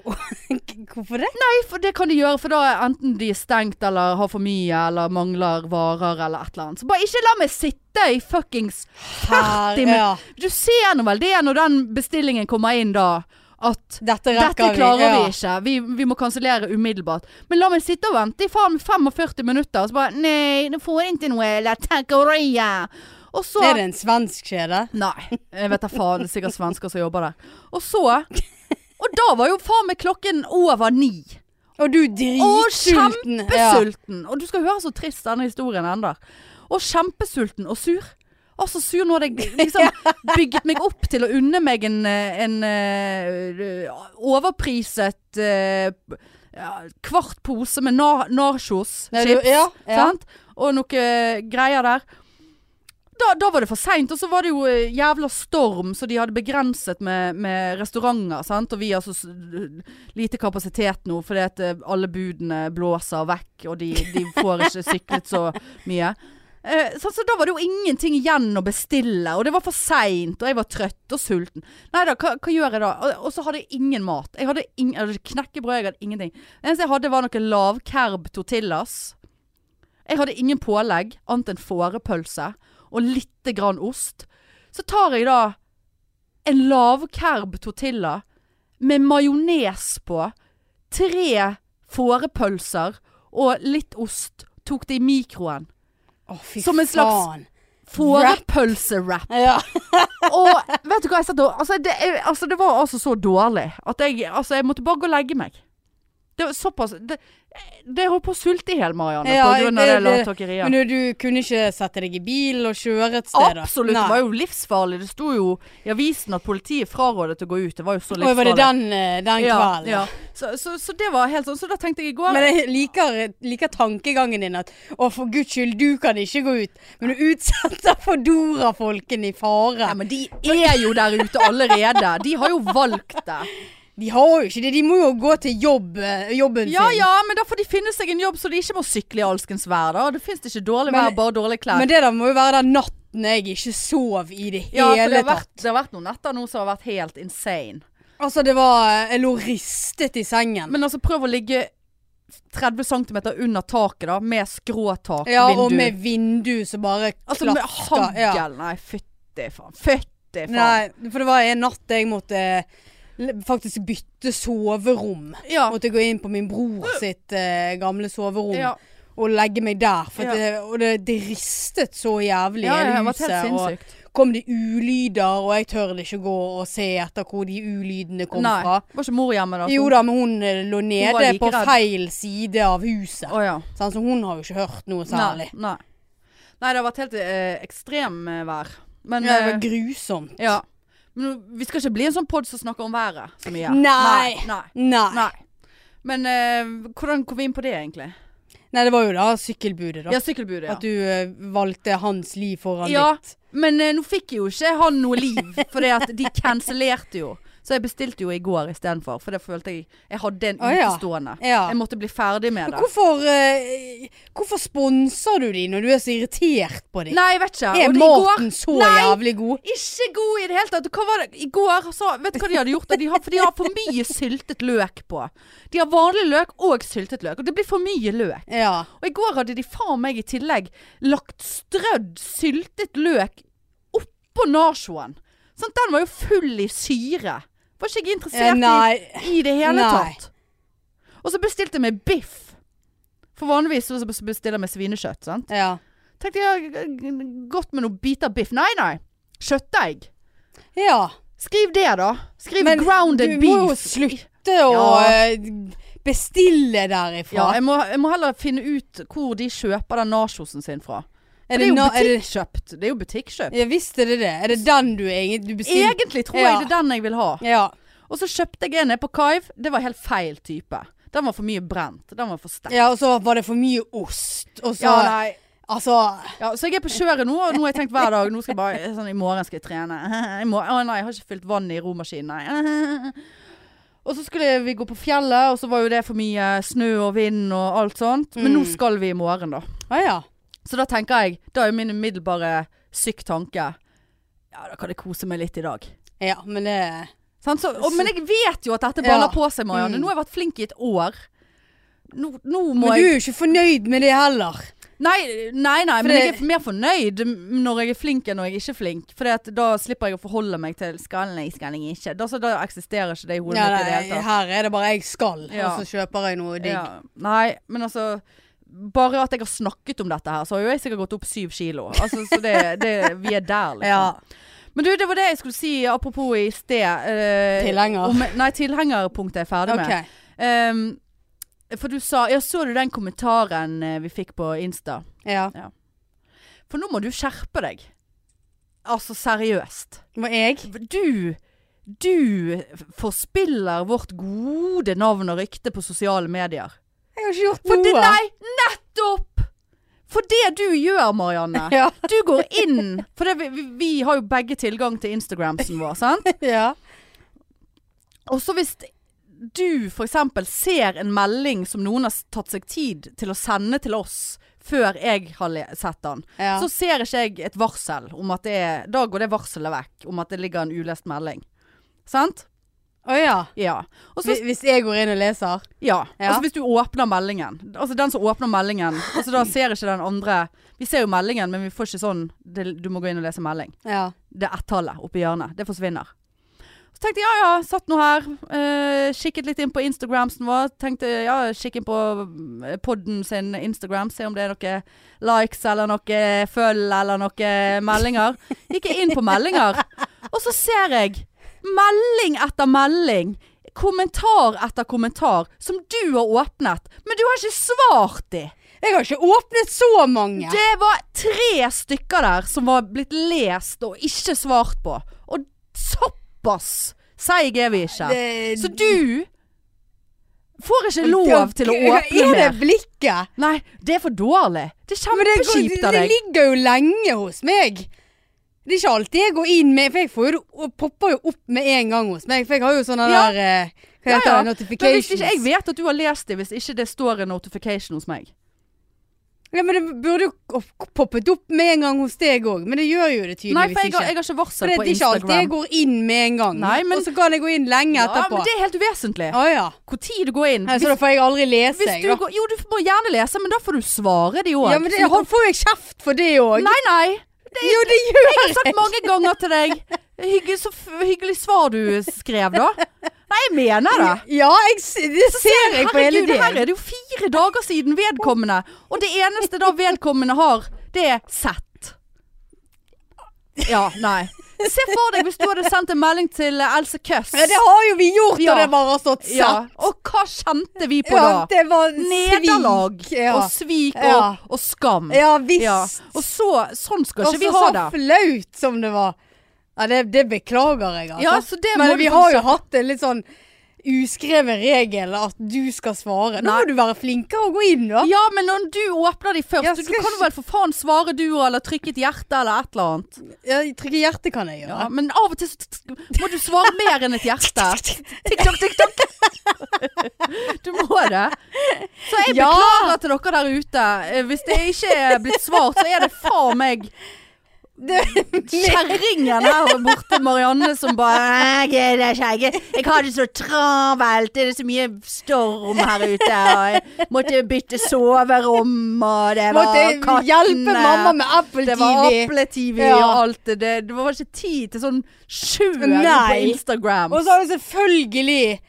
Speaker 2: Hvorfor det?
Speaker 1: Nei, for det kan de gjøre, for da er enten de er stengt eller har for mye eller mangler varer eller et eller annet. Så bare ikke la meg sitte i fuckings
Speaker 2: Her,
Speaker 1: 40 min-
Speaker 2: ja.
Speaker 1: Du ser nå vel det når den bestillingen kommer inn da, at
Speaker 2: Dette
Speaker 1: dette
Speaker 2: rekker
Speaker 1: klarer vi,
Speaker 2: ja.
Speaker 1: ikke. Vi, vi må kansellere umiddelbart. Men la meg sitte og vente i faen 45 minutter, og så bare Nei, du får ikke noe La Tacoria. Og så
Speaker 2: Er det en svensk kjede?
Speaker 1: Nei, jeg vet da faen. Det er sikkert svensker som jobber der. Og så Og da var jo faen meg klokken over ni.
Speaker 2: Og du
Speaker 1: Og
Speaker 2: dritsulten.
Speaker 1: kjempesulten! Og du skal høre så trist denne historien ender. Og kjempesulten og sur. Altså sur nå hadde jeg liksom bygget meg opp til å unne meg en, eh, en eh, overpriset eh, ja, kvart pose med na nachos.
Speaker 2: Ja. Nei,
Speaker 1: chips,
Speaker 2: du- ja, ja.
Speaker 1: sant? Og noe eh, greier der. Da, da var det for seint, og så var det jo eh, jævla storm, så de hadde begrenset med, med restauranter. Sant? Og vi har så s- lite kapasitet nå fordi at eh, alle budene blåser vekk, og de, de får ikke syklet så mye. Eh, så, så da var det jo ingenting igjen å bestille, og det var for seint, og jeg var trøtt og sulten. Nei da, hva, hva gjør jeg da? Og, og så hadde jeg ingen mat. Jeg hadde, ing, jeg hadde knekkebrød, jeg hadde ingenting. Det eneste jeg hadde, var noe lavkerb tortillas. Jeg hadde ingen pålegg, annet enn fårepølse og litt grann ost. Så tar jeg da en lavkerb tortilla med majones på, tre fårepølser og litt ost, tok det i mikroen.
Speaker 2: Å, fy
Speaker 1: Som en slags-
Speaker 2: faen.
Speaker 1: Fårepølsewrap.
Speaker 2: Ja.
Speaker 1: Og vet du hva jeg satt og altså det, jeg, altså, det var altså så dårlig at jeg, altså, jeg måtte bare gå og legge meg. Det var såpass Det, det holdt på å sulte i hjel, Marianne,
Speaker 2: Ja,
Speaker 1: på grunn av det,
Speaker 2: det-
Speaker 1: det
Speaker 2: det- Men du, du kunne ikke sette deg i bil og kjøre et sted? da?
Speaker 1: Absolutt,
Speaker 2: Nei.
Speaker 1: det var jo livsfarlig. Det sto jo i avisen at politiet frarådet å gå ut. Det var jo så
Speaker 2: Oi,
Speaker 1: livsfarlig.
Speaker 2: var det den, eh, den
Speaker 1: ja,
Speaker 2: kvelden?
Speaker 1: ja. Så, så, så det var helt sånn. Så da tenkte jeg i går
Speaker 2: Men jeg liker, liker tankegangen din at å, for guds skyld, du kan ikke gå ut. Men du utsetter Fodora-folkene i fare.
Speaker 1: ja, men de er jo der ute allerede. De har jo valgt det.
Speaker 2: De har jo ikke det. De må jo gå til jobb, eh, jobben
Speaker 1: Ja
Speaker 2: sin.
Speaker 1: ja, men da får de finne seg en jobb så de ikke må sykle i alskens vær. Da. Det fins ikke dårlig
Speaker 2: Men-
Speaker 1: vær, bare dårlige klær.
Speaker 2: Men det der må jo være den natten jeg ikke sov i det
Speaker 1: ja, for det
Speaker 2: hele
Speaker 1: har,
Speaker 2: tatt.
Speaker 1: vært, det har vært noen netter nå som har vært helt insane.
Speaker 2: Altså, det var eh, Jeg lå ristet i sengen.
Speaker 1: Men altså, prøv å ligge 30 cm under taket, da, med skråtak,
Speaker 2: ja, og
Speaker 1: vindu.
Speaker 2: med vindu som bare
Speaker 1: Altså med
Speaker 2: klasker.
Speaker 1: hagl.
Speaker 2: Ja.
Speaker 1: Nei, fytti faen. Fytti faen.
Speaker 2: Nei, for det var en natt jeg måtte eh, l- faktisk bytte soverom.
Speaker 1: Ja.
Speaker 2: Måtte gå inn på min bror sitt eh, gamle soverom
Speaker 1: Ja.
Speaker 2: og legge meg der. For
Speaker 1: Ja.
Speaker 2: det, og det, det ristet så jævlig i
Speaker 1: Ja, ja,
Speaker 2: hele
Speaker 1: det var helt
Speaker 2: huset.
Speaker 1: sinnssykt.
Speaker 2: Og kom det ulyder, og jeg tør ikke gå og se etter hvor de ulydene kom
Speaker 1: Nei.
Speaker 2: fra.
Speaker 1: Var ikke mor hjemme da? så-
Speaker 2: Jo da, men hun eh, lå nede
Speaker 1: like
Speaker 2: på
Speaker 1: redd.
Speaker 2: feil side av huset.
Speaker 1: Å ja.
Speaker 2: sant, Så hun har jo ikke hørt noe særlig.
Speaker 1: Nei, nei. nei, det har vært helt eh, ekstrem eh, vær. Men
Speaker 2: Det var
Speaker 1: eh,
Speaker 2: grusomt.
Speaker 1: ja. Men nå- vi skal ikke bli en sånn pod som snakker om været så mye.
Speaker 2: Nei.
Speaker 1: Nei. nei.
Speaker 2: Nei. Nei.
Speaker 1: nei. Men eh, hvordan kom vi inn på det, egentlig?
Speaker 2: det var jo da sykkelbudet, da.
Speaker 1: Ja, sykkelbudet, ja.
Speaker 2: At du eh, valgte hans liv foran
Speaker 1: Ja,
Speaker 2: ditt.
Speaker 1: men eh, nå fikk jo ikke han noe liv, for de kansellerte jo. Så jeg bestilte jo i går istedenfor, for det følte jeg Jeg hadde en
Speaker 2: Å, ja.
Speaker 1: utestående.
Speaker 2: Ja.
Speaker 1: Jeg måtte bli ferdig med
Speaker 2: Men
Speaker 1: det.
Speaker 2: hvorfor, eh, hvorfor sponser du de når du er så irritert på dem?
Speaker 1: Nei, jeg vet ikke.
Speaker 2: Er
Speaker 1: Og det- i går-
Speaker 2: maten så
Speaker 1: Nei!
Speaker 2: jævlig god?
Speaker 1: Ikke god i det hele tatt. Hva var det? I går så, Vet du hva de hadde gjort? da? De har, for de har for mye syltet løk på. De har vanlig løk og syltet løk. Og det blir for mye løk.
Speaker 2: Ja.
Speaker 1: Og i går hadde de faen meg i tillegg lagt strødd syltet løk oppå nachoen. Sånn, den var jo full i syre. Var ikke jeg
Speaker 2: Eh,
Speaker 1: interessert
Speaker 2: Nei.
Speaker 1: i, i det hele
Speaker 2: Nei.
Speaker 1: tatt. Og så bestilte jeg meg biff. For vanligvis så bestiller jeg meg svinekjøtt. sant?
Speaker 2: Ja.
Speaker 1: Tenkte jeg g- g- godt med noen biter biff. Nei, nei. Kjøttdeig.
Speaker 2: ja.
Speaker 1: Skriv det, da. Skriv
Speaker 2: Men
Speaker 1: grounded
Speaker 2: du
Speaker 1: beef.
Speaker 2: må jo slutte å
Speaker 1: Ja.
Speaker 2: eh, bestille derifra.
Speaker 1: Ja, jeg må, jeg må heller finne ut hvor de kjøper den nachosen sin fra.
Speaker 2: er
Speaker 1: For det er jo
Speaker 2: na- er det,
Speaker 1: butikkjøpt. Det er jo butikkjøpt.
Speaker 2: ja visst er det det. Er det den du egentlig du bestiller?
Speaker 1: Egentlig tror
Speaker 2: Ja.
Speaker 1: jeg det er den jeg vil ha.
Speaker 2: Ja.
Speaker 1: Og så kjøpte jeg en nede på Kaiv. Det var helt feil type. Den var for mye brent. Den var for sterk.
Speaker 2: ja, og så var det for mye ost. Og så
Speaker 1: nei.
Speaker 2: Altså
Speaker 1: Ja, så jeg er på kjøret nå, og nå har jeg tenkt hver dag Nå skal jeg bare, sånn, I morgen skal jeg trene. I morgen, å nei, jeg har ikke fylt vann i romaskinen, nei. Og så skulle vi gå på fjellet, og så var jo det for mye snø og vind og alt sånt. Men nå
Speaker 2: Mm.
Speaker 1: skal vi i morgen, da.
Speaker 2: Å ja.
Speaker 1: Så da tenker jeg Da er min umiddelbare syk tanke Ja, da kan jeg kose meg litt i dag.
Speaker 2: Ja, men det
Speaker 1: Sant? så, og, men jeg vet jo at dette
Speaker 2: Ja.
Speaker 1: baller på seg, Marianne.
Speaker 2: Mm.
Speaker 1: Nå har jeg vært flink i et år. Nå, nå må
Speaker 2: Men du
Speaker 1: jeg
Speaker 2: er jo ikke fornøyd med det heller.
Speaker 1: Nei, nei, nei
Speaker 2: For
Speaker 1: men
Speaker 2: det-
Speaker 1: jeg er mer fornøyd m- når jeg er flink enn når jeg ikke er flink. For da slipper jeg å forholde meg til skal jeg, skal jeg ikke. Da, så da eksisterer ikke det i hodet
Speaker 2: Ja,
Speaker 1: mitt i det
Speaker 2: nei,
Speaker 1: hele tatt.
Speaker 2: her er det bare jeg skal,
Speaker 1: Ja.
Speaker 2: og så kjøper jeg noe digg.
Speaker 1: Ja. Nei, men altså Bare at jeg har snakket om dette her, så har jo jeg sikkert gått opp syv kilo. Altså, så det, det, vi er der, liksom.
Speaker 2: Ja.
Speaker 1: Men du, det var det jeg skulle si apropos i sted. eh,
Speaker 2: Tilhenger.
Speaker 1: Om, nei, tilhengerpunktet er jeg ferdig med.
Speaker 2: Ok.
Speaker 1: Ehm, for du sa Ja, så du den kommentaren eh, vi fikk på Insta?
Speaker 2: Ja.
Speaker 1: For nå må du skjerpe deg. Altså seriøst.
Speaker 2: Var jeg?
Speaker 1: Du du forspiller vårt gode navn og rykte på sosiale medier.
Speaker 2: Jeg har ikke gjort
Speaker 1: For det,
Speaker 2: noe.
Speaker 1: nei, nettopp! For det du gjør, Marianne.
Speaker 2: Ja.
Speaker 1: Du går inn For det, vi, vi- vi har jo begge tilgang til Instagramsen vår, sant?
Speaker 2: ja.
Speaker 1: Og så hvis du f.eks. ser en melding som noen har s- tatt seg tid til å sende til oss før jeg har le- sett den,
Speaker 2: ja.
Speaker 1: så ser ikke jeg et varsel om at det er Da går det varselet vekk om at det ligger en ulest melding. Sant?
Speaker 2: Å ja.
Speaker 1: Ja. Og så
Speaker 2: Hvis, hvis jeg går inn og leser.
Speaker 1: ja.
Speaker 2: Ja.
Speaker 1: Altså hvis du åpner meldingen. Altså den som åpner meldingen. Altså da ser ikke den andre Vi ser jo meldingen, men vi får ikke sånn det, Du må gå inn og lese melding.
Speaker 2: Ja.
Speaker 1: Det ett-tallet oppi hjørnet. Det forsvinner. Så tenkte jeg ja ja, satt nå her. Eh, kikket litt inn på Instagramsen vår. Tenkte ja, kikk inn på eh, podden sin Instagram. Se om det er noe likes eller noe følg eller noe meldinger. Gikk jeg inn på meldinger, og så ser jeg melding etter melding. Kommentar etter kommentar som du har åpnet, men du har ikke svart i.
Speaker 2: Jeg har ikke åpnet så mange.
Speaker 1: Det var tre stykker der som var blitt lest og ikke svart på. Og såpass seig er vi ikke.
Speaker 2: Det-
Speaker 1: Så du får ikke lov til å åpne
Speaker 2: Er det
Speaker 1: mer.
Speaker 2: blikket?
Speaker 1: Nei, det er for dårlig. Det er
Speaker 2: Men det, går-
Speaker 1: kjempekjipt av
Speaker 2: det
Speaker 1: deg.
Speaker 2: ligger jo lenge hos meg. Det er ikke alltid jeg går inn med, for jeg får jo, og popper jo opp med en gang hos meg. For jeg har jo sånne
Speaker 1: Ja.
Speaker 2: der eh, Hva heter
Speaker 1: Ja, ja.
Speaker 2: det?
Speaker 1: Men
Speaker 2: Notifications.
Speaker 1: hvis ikke, jeg vet at du har lest det hvis ikke det står en notification hos meg.
Speaker 2: Ja, men det burde jo opp- poppet opp med en gang hos deg òg, men det gjør jo det
Speaker 1: Nei,
Speaker 2: tydeligvis
Speaker 1: for jeg har,
Speaker 2: ikke.
Speaker 1: jeg har ikke
Speaker 2: For
Speaker 1: varsel
Speaker 2: det
Speaker 1: på
Speaker 2: er ikke alltid jeg
Speaker 1: Instagram.
Speaker 2: går inn med en gang,
Speaker 1: Nei, men-
Speaker 2: og så kan jeg gå inn lenge
Speaker 1: Ja,
Speaker 2: etterpå.
Speaker 1: men det er helt uvesentlig.
Speaker 2: Å ja.
Speaker 1: Når du går inn.
Speaker 2: Nei, Så da
Speaker 1: Hvis,
Speaker 2: får jeg aldri lese,
Speaker 1: hvis
Speaker 2: jeg,
Speaker 1: du
Speaker 2: da.
Speaker 1: går, jo, du må gjerne lese, men da får du svare de òg.
Speaker 2: Ja, men det, da får jeg kjeft for det òg.
Speaker 1: Nei, nei.
Speaker 2: Jo, det gjør
Speaker 1: Jeg har sagt mange ganger til deg Hygge, Så f- hyggelig svar du skrev da Nei, jeg mener det
Speaker 2: Ja, jeg, s- det ser jeg på hele
Speaker 1: Herregud, her
Speaker 2: tiden.
Speaker 1: er det jo fire dager siden vedkommende Og det eneste da vedkommende har Det er sett Ja, nei Se for deg hvis du hadde sendt en melding til eh, Else Køss
Speaker 2: Ja, det har jo vi gjort,
Speaker 1: Ja.
Speaker 2: og det bare har stått
Speaker 1: ja,
Speaker 2: satt.
Speaker 1: Og hva kjente vi på
Speaker 2: Ja,
Speaker 1: da?
Speaker 2: det var svik.
Speaker 1: Nederlag
Speaker 2: Ja,
Speaker 1: og svik og,
Speaker 2: Ja.
Speaker 1: og skam
Speaker 2: sånn. ja visst.
Speaker 1: Ja, Og så, sånn skal
Speaker 2: Og
Speaker 1: ikke vi
Speaker 2: så
Speaker 1: ha
Speaker 2: så
Speaker 1: det
Speaker 2: flaut som det var. Ja, det, det beklager jeg, altså.
Speaker 1: Ja, så det må
Speaker 2: Men
Speaker 1: du
Speaker 2: vi
Speaker 1: få
Speaker 2: har
Speaker 1: sagt.
Speaker 2: jo hatt en litt sånn uskreven regel at du skal svare. Da må du være flinkere å gå inn, da.
Speaker 1: Ja, men når du åpner de først,
Speaker 2: Ja,
Speaker 1: du
Speaker 2: skal
Speaker 1: kan
Speaker 2: ikke-
Speaker 1: vel for faen svare du eller trykke et hjerte eller et eller annet.
Speaker 2: Ja, Trykke hjerte kan jeg
Speaker 1: Ja,
Speaker 2: gjøre.
Speaker 1: men av og til så t- t- må du svare mer enn et hjerte. Tikk takk, tikk takk. Du må det. Så jeg
Speaker 2: Ja.
Speaker 1: beklager til dere der ute. Eh, Hvis det ikke er blitt svart, så er det faen meg kjerringen her borte, Marianne, som bare «Jeg er det ikke, jeg- Jeg har det så travelt. Det er så mye storm her ute. Og jeg måtte bytte soverom, og det var
Speaker 2: Måtte jeg hjelpe
Speaker 1: kattene.
Speaker 2: mamma med Apple
Speaker 1: eh, Det var
Speaker 2: TV.
Speaker 1: Apple-TV
Speaker 2: Ja.
Speaker 1: og alt det der. Det var ikke tid til sånn sjøer på
Speaker 2: Nei.
Speaker 1: Instagram.
Speaker 2: Og så har du selvfølgelig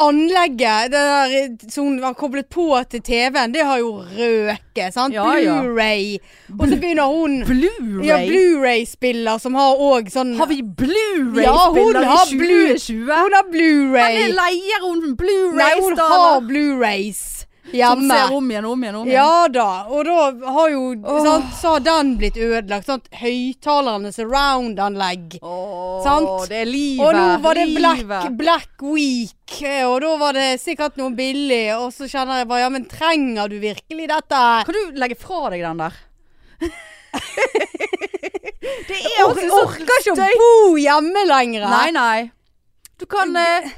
Speaker 2: anlegget. Det der som var koblet på til TV-en, det har jo røket. sant?
Speaker 1: Ja, ja.
Speaker 2: Blu-ray. Og så begynner hun
Speaker 1: Blu-ray.
Speaker 2: Ja, Blu-ray-spiller som har òg sånn
Speaker 1: har vi Blu-ray-spiller
Speaker 2: Ja, hun har
Speaker 1: i
Speaker 2: Blu-
Speaker 1: 2020?
Speaker 2: Hun har
Speaker 1: Eller
Speaker 2: Blu-ray.
Speaker 1: leier hun
Speaker 2: Nei, hun har
Speaker 1: Blu-ray-staver?
Speaker 2: Blu-rays
Speaker 1: Som
Speaker 2: hjemme.
Speaker 1: ser om igjen, om igjen, om igjen.
Speaker 2: Ja da, og da har jo
Speaker 1: Åh.
Speaker 2: sant, Så har den blitt ødelagt. Sant? Høyttalerne surround-anlegg.
Speaker 1: Åh,
Speaker 2: Sant?
Speaker 1: Det er livet.
Speaker 2: Og nå var det
Speaker 1: livet.
Speaker 2: Black, Black Week, eh, og da var det sikkert noe billig. Og så kjenner jeg bare ja, men trenger du virkelig dette?
Speaker 1: Kan du legge fra deg den der? det er altså
Speaker 2: Jeg orker, ikke å bo hjemme lenger. eh.
Speaker 1: Nei, nei. Du kan eh,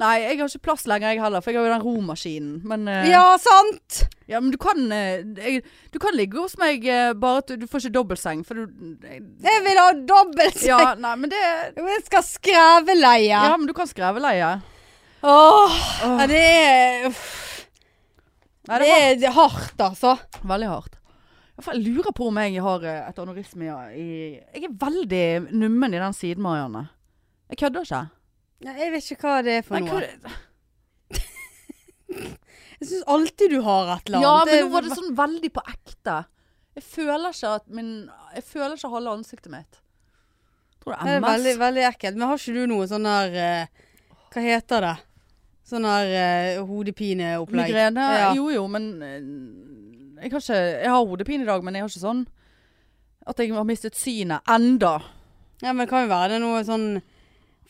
Speaker 1: Nei, jeg har ikke plass lenger, jeg heller, for jeg har jo den romaskinen. Men, eh, ja.
Speaker 2: Ja, sant?
Speaker 1: men du kan eh, jeg, Du kan ligge hos meg, eh, bare at du, du får ikke dobbeltseng, for du jeg,
Speaker 2: Jeg vil ha dobbelt
Speaker 1: Ja, nei, men det
Speaker 2: Jo, Jeg skal skreveleie.
Speaker 1: Ja, men du kan skreveleie.
Speaker 2: Åh,
Speaker 1: Åh.
Speaker 2: ja, det er uff,
Speaker 1: Nei,
Speaker 2: Det
Speaker 1: det
Speaker 2: er det er hardt, altså.
Speaker 1: var veldig hardt. I hvert fall, Jeg lurer på om jeg har eh, et anorisme ja, i Jeg er veldig nummen i den siden, Marianne. Jeg kødder ikke.
Speaker 2: Nei, Jeg vet ikke hva det er for
Speaker 1: Nei,
Speaker 2: noe.
Speaker 1: hva-
Speaker 2: Jeg syns alltid du har et eller
Speaker 1: Ja,
Speaker 2: annet.
Speaker 1: men nå var det sånn veldig på ekte. Jeg føler ikke at min Jeg føler ikke halve ansiktet mitt. Tror
Speaker 2: Det
Speaker 1: det
Speaker 2: er
Speaker 1: er
Speaker 2: veldig,
Speaker 1: MS.
Speaker 2: veldig ekkelt. Men har ikke du noe sånn der eh, Hva heter det? Sånn der eh, hodepineopplegg?
Speaker 1: Migrene?
Speaker 2: Ja.
Speaker 1: Jo jo, men eh, jeg har, ikke, jeg har hodepine i dag, men jeg har ikke sånn at jeg har mistet synet enda.
Speaker 2: Ja, men det kan jo være det er noe sånn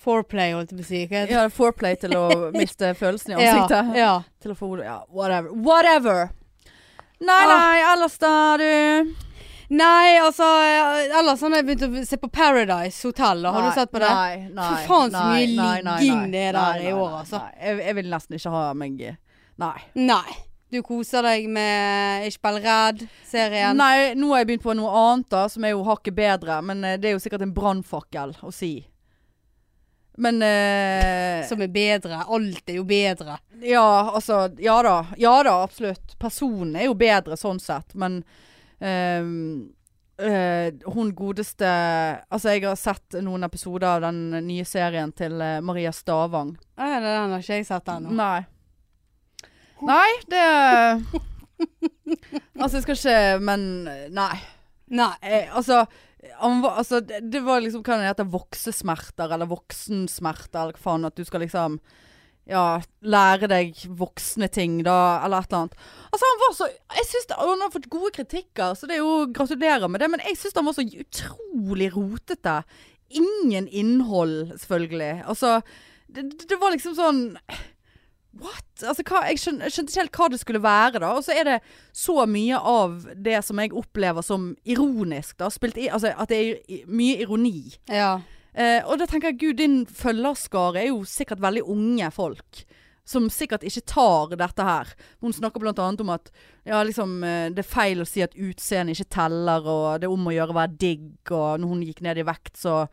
Speaker 2: foreplay, holdt jeg på å si. Hva
Speaker 1: Jeg
Speaker 2: heter det?
Speaker 1: har foreplay til å miste følelsen i ansiktet.
Speaker 2: Ja,
Speaker 1: Til å få hodet Ja, whatever. Whatever! Nei,
Speaker 2: Ah.
Speaker 1: nei, ellers da, du.
Speaker 2: ja. Nei, altså eh, Ellers sånn har jeg begynt å se på Paradise Hotel. Da. Har
Speaker 1: Nei,
Speaker 2: du sett på det?
Speaker 1: Nei, nei.
Speaker 2: For faen så
Speaker 1: nei,
Speaker 2: mye
Speaker 1: nei, nei,
Speaker 2: ligging
Speaker 1: nei.
Speaker 2: det er der
Speaker 1: Nei,
Speaker 2: i
Speaker 1: nei,
Speaker 2: år,
Speaker 1: nei,
Speaker 2: altså.
Speaker 1: nei. Jeg, jeg vil nesten ikke ha meg i- Nei.
Speaker 2: Nei. Du koser deg med Ikke bell redd-serien.
Speaker 1: Nei, nå har jeg begynt på noe annet da, som er jo hakket bedre, men eh, det er jo sikkert en brannfakkel å si. Men eh,
Speaker 2: Som er bedre. Alt er jo bedre.
Speaker 1: Ja, altså Ja da. Ja da, absolutt. Personen er jo bedre sånn sett, men eh, eh, hun godeste Altså, jeg har sett noen episoder av den nye serien til eh, Maria Stavang.
Speaker 2: Å ja, den har ikke jeg sett ennå.
Speaker 1: Nei. Nei, det Altså, jeg skal ikke Men eh, nei.
Speaker 2: Nei.
Speaker 1: Eh, altså, han var, altså det, det var liksom hva det heter, voksesmerter eller voksensmerter eller hva faen. At du skal liksom ja, lære deg voksne ting, da, eller et eller annet. Altså, han var så Jeg syns det- og han har fått gode kritikker, så det er jo gratulerer med det, men jeg syns han var så utrolig rotete. Ingen innhold, selvfølgelig. Altså, det, det- det var liksom sånn What? Altså, hva, jeg skjøn- jeg skjønte ikke helt hva det skulle være, da. Og så er det så mye av det som jeg opplever som ironisk, da. Spilt i, altså, at det er i- mye ironi.
Speaker 2: Ja.
Speaker 1: Eh, og da tenker jeg, gud, din følgerskare er jo sikkert veldig unge folk. Som sikkert ikke tar dette her. Hun snakker blant annet om at ja, liksom, eh, det er feil å si at utseendet ikke teller, og det er om å gjøre å være digg, og når hun gikk ned i vekt, så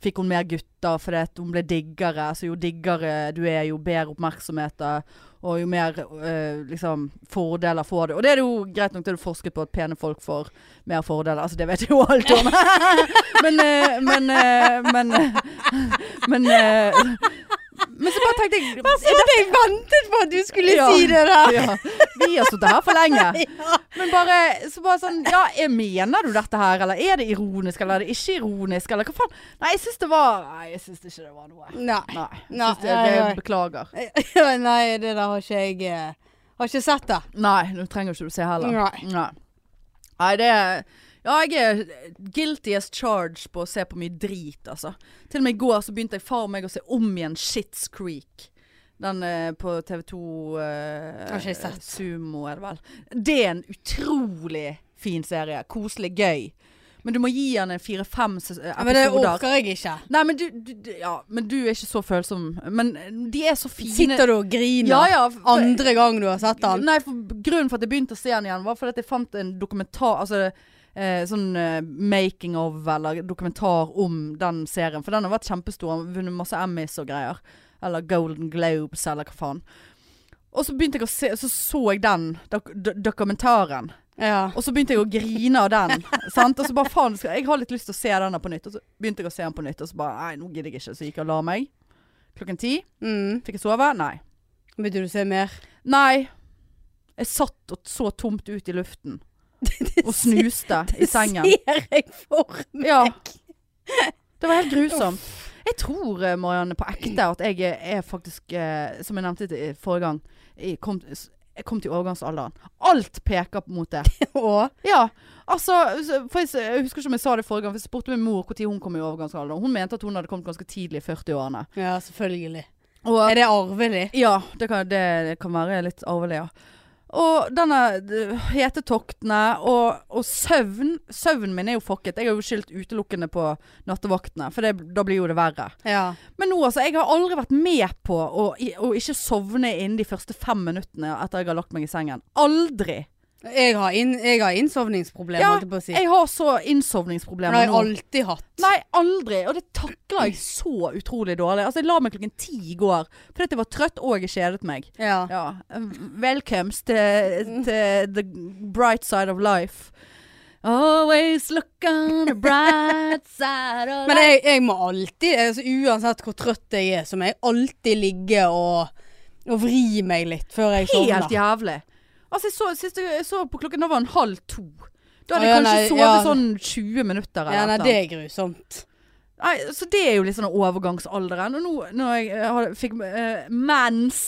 Speaker 1: fikk hun mer gutter fordi at hun ble diggere. Så jo diggere du er, jo bedre oppmerksomhet, eh, og jo mer eh, liksom, fordeler får du. Og det er det jo greit nok, det er det forsket på at pene folk får mer fordeler. Altså, det vet jeg jo alt om. men, eh, men, eh, men, eh, men, eh, men så bare tenkte jeg
Speaker 2: Så hadde Altså, jeg ventet på at du skulle
Speaker 1: Ja.
Speaker 2: si det der.
Speaker 1: ja, Vi har sittet her for lenge.
Speaker 2: Ja.
Speaker 1: Men bare, så bare sånn Ja, jeg mener du dette her, eller er det ironisk, eller er det ikke ironisk, eller hva faen? Nei, jeg syns det var Nei, jeg syns ikke det var noe.
Speaker 2: Nei.
Speaker 1: Nei. Jeg
Speaker 2: Nei,
Speaker 1: synes det,
Speaker 2: nei, nei.
Speaker 1: det beklager.
Speaker 2: Nei, det der har ikke jeg eh, Har ikke sett det.
Speaker 1: Nei, du trenger ikke du se heller.
Speaker 2: Nei.
Speaker 1: Nei, Nei, det er ja, jeg er guilty as charged på å se på mye drit, altså. Til og med i går så begynte jeg far meg å se om igjen Shits Creek. Den eh, på TV 2 eh,
Speaker 2: Har ikke jeg sett.
Speaker 1: Sumo er det vel. Det er en utrolig fin serie. Koselig, gøy. Men du må gi den en fire-fem ses-
Speaker 2: Ja, men det
Speaker 1: episoder.
Speaker 2: orker jeg ikke.
Speaker 1: Nei, men du, du, du, ja, men du er ikke så følsom. Men de er så fine.
Speaker 2: Sitter du og griner
Speaker 1: Ja, ja. for-
Speaker 2: andre gang du har sett den?
Speaker 1: Nei, for grunnen for at jeg begynte å se den igjen, var fordi at jeg fant en dokumentar Altså eh, sånn eh, making of eller dokumentar om den serien. For den har vært kjempestor. Han har vunnet masse Emmys og greier. Eller Golden Globes, eller hva faen. Og så begynte jeg å se Så så jeg den dok do- dokumentaren.
Speaker 2: Ja.
Speaker 1: Og så begynte jeg å grine av den. sant? Og så bare faen, skal- jeg har litt lyst til å se denne på nytt. Og så begynte jeg å se den på nytt, og så bare Nei, nå gidder jeg ikke. Så gikk jeg og la meg. Klokken ti.
Speaker 2: Mm.
Speaker 1: Fikk jeg sove? Nei.
Speaker 2: Begynte du å se mer?
Speaker 1: Nei. Jeg satt og så tomt ut i luften. Og snuste i sengen.
Speaker 2: ser jeg for meg.
Speaker 1: Ja. Det var helt grusomt. Jeg tror, eh, Marianne, på ekte at jeg eh, er faktisk eh, Som jeg nevnte i forrige gang, jeg kom, jeg kom til overgangsalderen. Alt peker mot det.
Speaker 2: Og
Speaker 1: Ja. Altså, så- for jeg, s- jeg husker ikke om jeg sa det forrige gang, for jeg spurte min mor når hun kom i overgangsalderen. Hun mente at hun hadde kommet ganske tidlig i 40-årene.
Speaker 2: Ja, selvfølgelig.
Speaker 1: Og
Speaker 2: Er det arvelig?
Speaker 1: Ja, det kan, det kan være litt arvelig, ja. Og denne d- hetetoktene og, og søvn Søvnen min er jo fucket. Jeg har jo skyldt utelukkende på nattevaktene, for det, da blir jo det verre.
Speaker 2: Ja.
Speaker 1: Men nå, altså. Jeg har aldri vært med på å, i- å ikke sovne innen de første fem minuttene etter jeg har lagt meg i sengen. Aldri!
Speaker 2: Jeg har, inn, jeg har innsovningsproblemer,
Speaker 1: Ja,
Speaker 2: holdt jeg på å si.
Speaker 1: Jeg har så
Speaker 2: Det har
Speaker 1: innsovningsproblemer
Speaker 2: jeg
Speaker 1: nå.
Speaker 2: alltid hatt.
Speaker 1: Nei, aldri. Og det takla jeg så utrolig dårlig. Altså, jeg la meg klokken ti i går fordi at jeg var trøtt og jeg kjedet meg.
Speaker 2: Ja.
Speaker 1: Ja. um, Velkomst til, til the bright side of life. Always look on the bright side of
Speaker 2: Men
Speaker 1: life.
Speaker 2: jeg, jeg må alltid, altså, uansett hvor trøtt jeg er, så må jeg alltid ligge og, og vri meg litt før jeg sovner.
Speaker 1: Helt jævlig. Sånn, Altså, jeg så, sist jeg så på klokken, da var den halv to. Da hadde
Speaker 2: Å, ja,
Speaker 1: jeg kanskje
Speaker 2: nei,
Speaker 1: sovet
Speaker 2: ja.
Speaker 1: sånn 20 minutter eller
Speaker 2: Ja, nei,
Speaker 1: noe.
Speaker 2: det er grusomt.
Speaker 1: Nei, så det er jo litt sånn overgangsalderen. Og nå når jeg eh, hadde- fikk eh, mens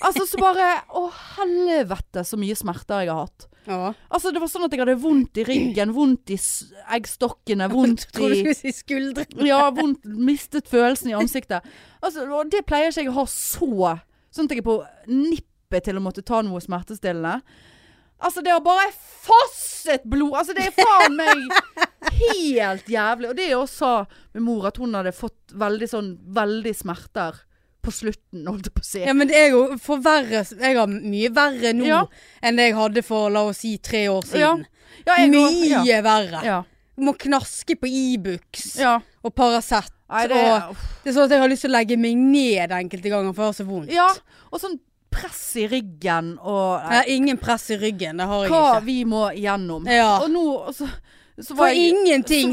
Speaker 1: Altså, så bare Å, helvete så mye smerter jeg har hatt.
Speaker 2: Ja.
Speaker 1: Altså, det var sånn at jeg hadde vondt i ryggen, vondt i s- eggstokkene, vondt
Speaker 2: Tror
Speaker 1: i
Speaker 2: du skulle si skuldre?
Speaker 1: Ja, vondt, mistet følelsen i ansiktet. Altså, og det pleier ikke jeg å ha så Sånn at jeg er på nippet til å måtte ta noe smertestillende. Altså, det har bare fosset blod! Altså, det er faen meg helt jævlig. Og det jeg også sa min mor, at hun hadde fått veldig sånn Veldig smerter på slutten, holdt jeg på å si.
Speaker 2: Ja, men det er jo for verre Jeg har mye verre nå
Speaker 1: Ja.
Speaker 2: enn det jeg hadde for, la oss si, tre år siden.
Speaker 1: Ja, jeg-
Speaker 2: Mye
Speaker 1: Ja.
Speaker 2: verre.
Speaker 1: ja.
Speaker 2: Må knaske på Ibux
Speaker 1: ja.
Speaker 2: og Paracet.
Speaker 1: Nei, det
Speaker 2: og Det er sånn at jeg har lyst til å legge meg ned enkelte ganger, for jeg har så vondt.
Speaker 1: Ja, og sånn press i ryggen og
Speaker 2: Jeg har ingen press i ryggen, det har jeg
Speaker 1: hva
Speaker 2: ikke.
Speaker 1: vi må gjennom.
Speaker 2: Ja.
Speaker 1: Og nå og så, så
Speaker 2: For
Speaker 1: var jeg
Speaker 2: ingenting!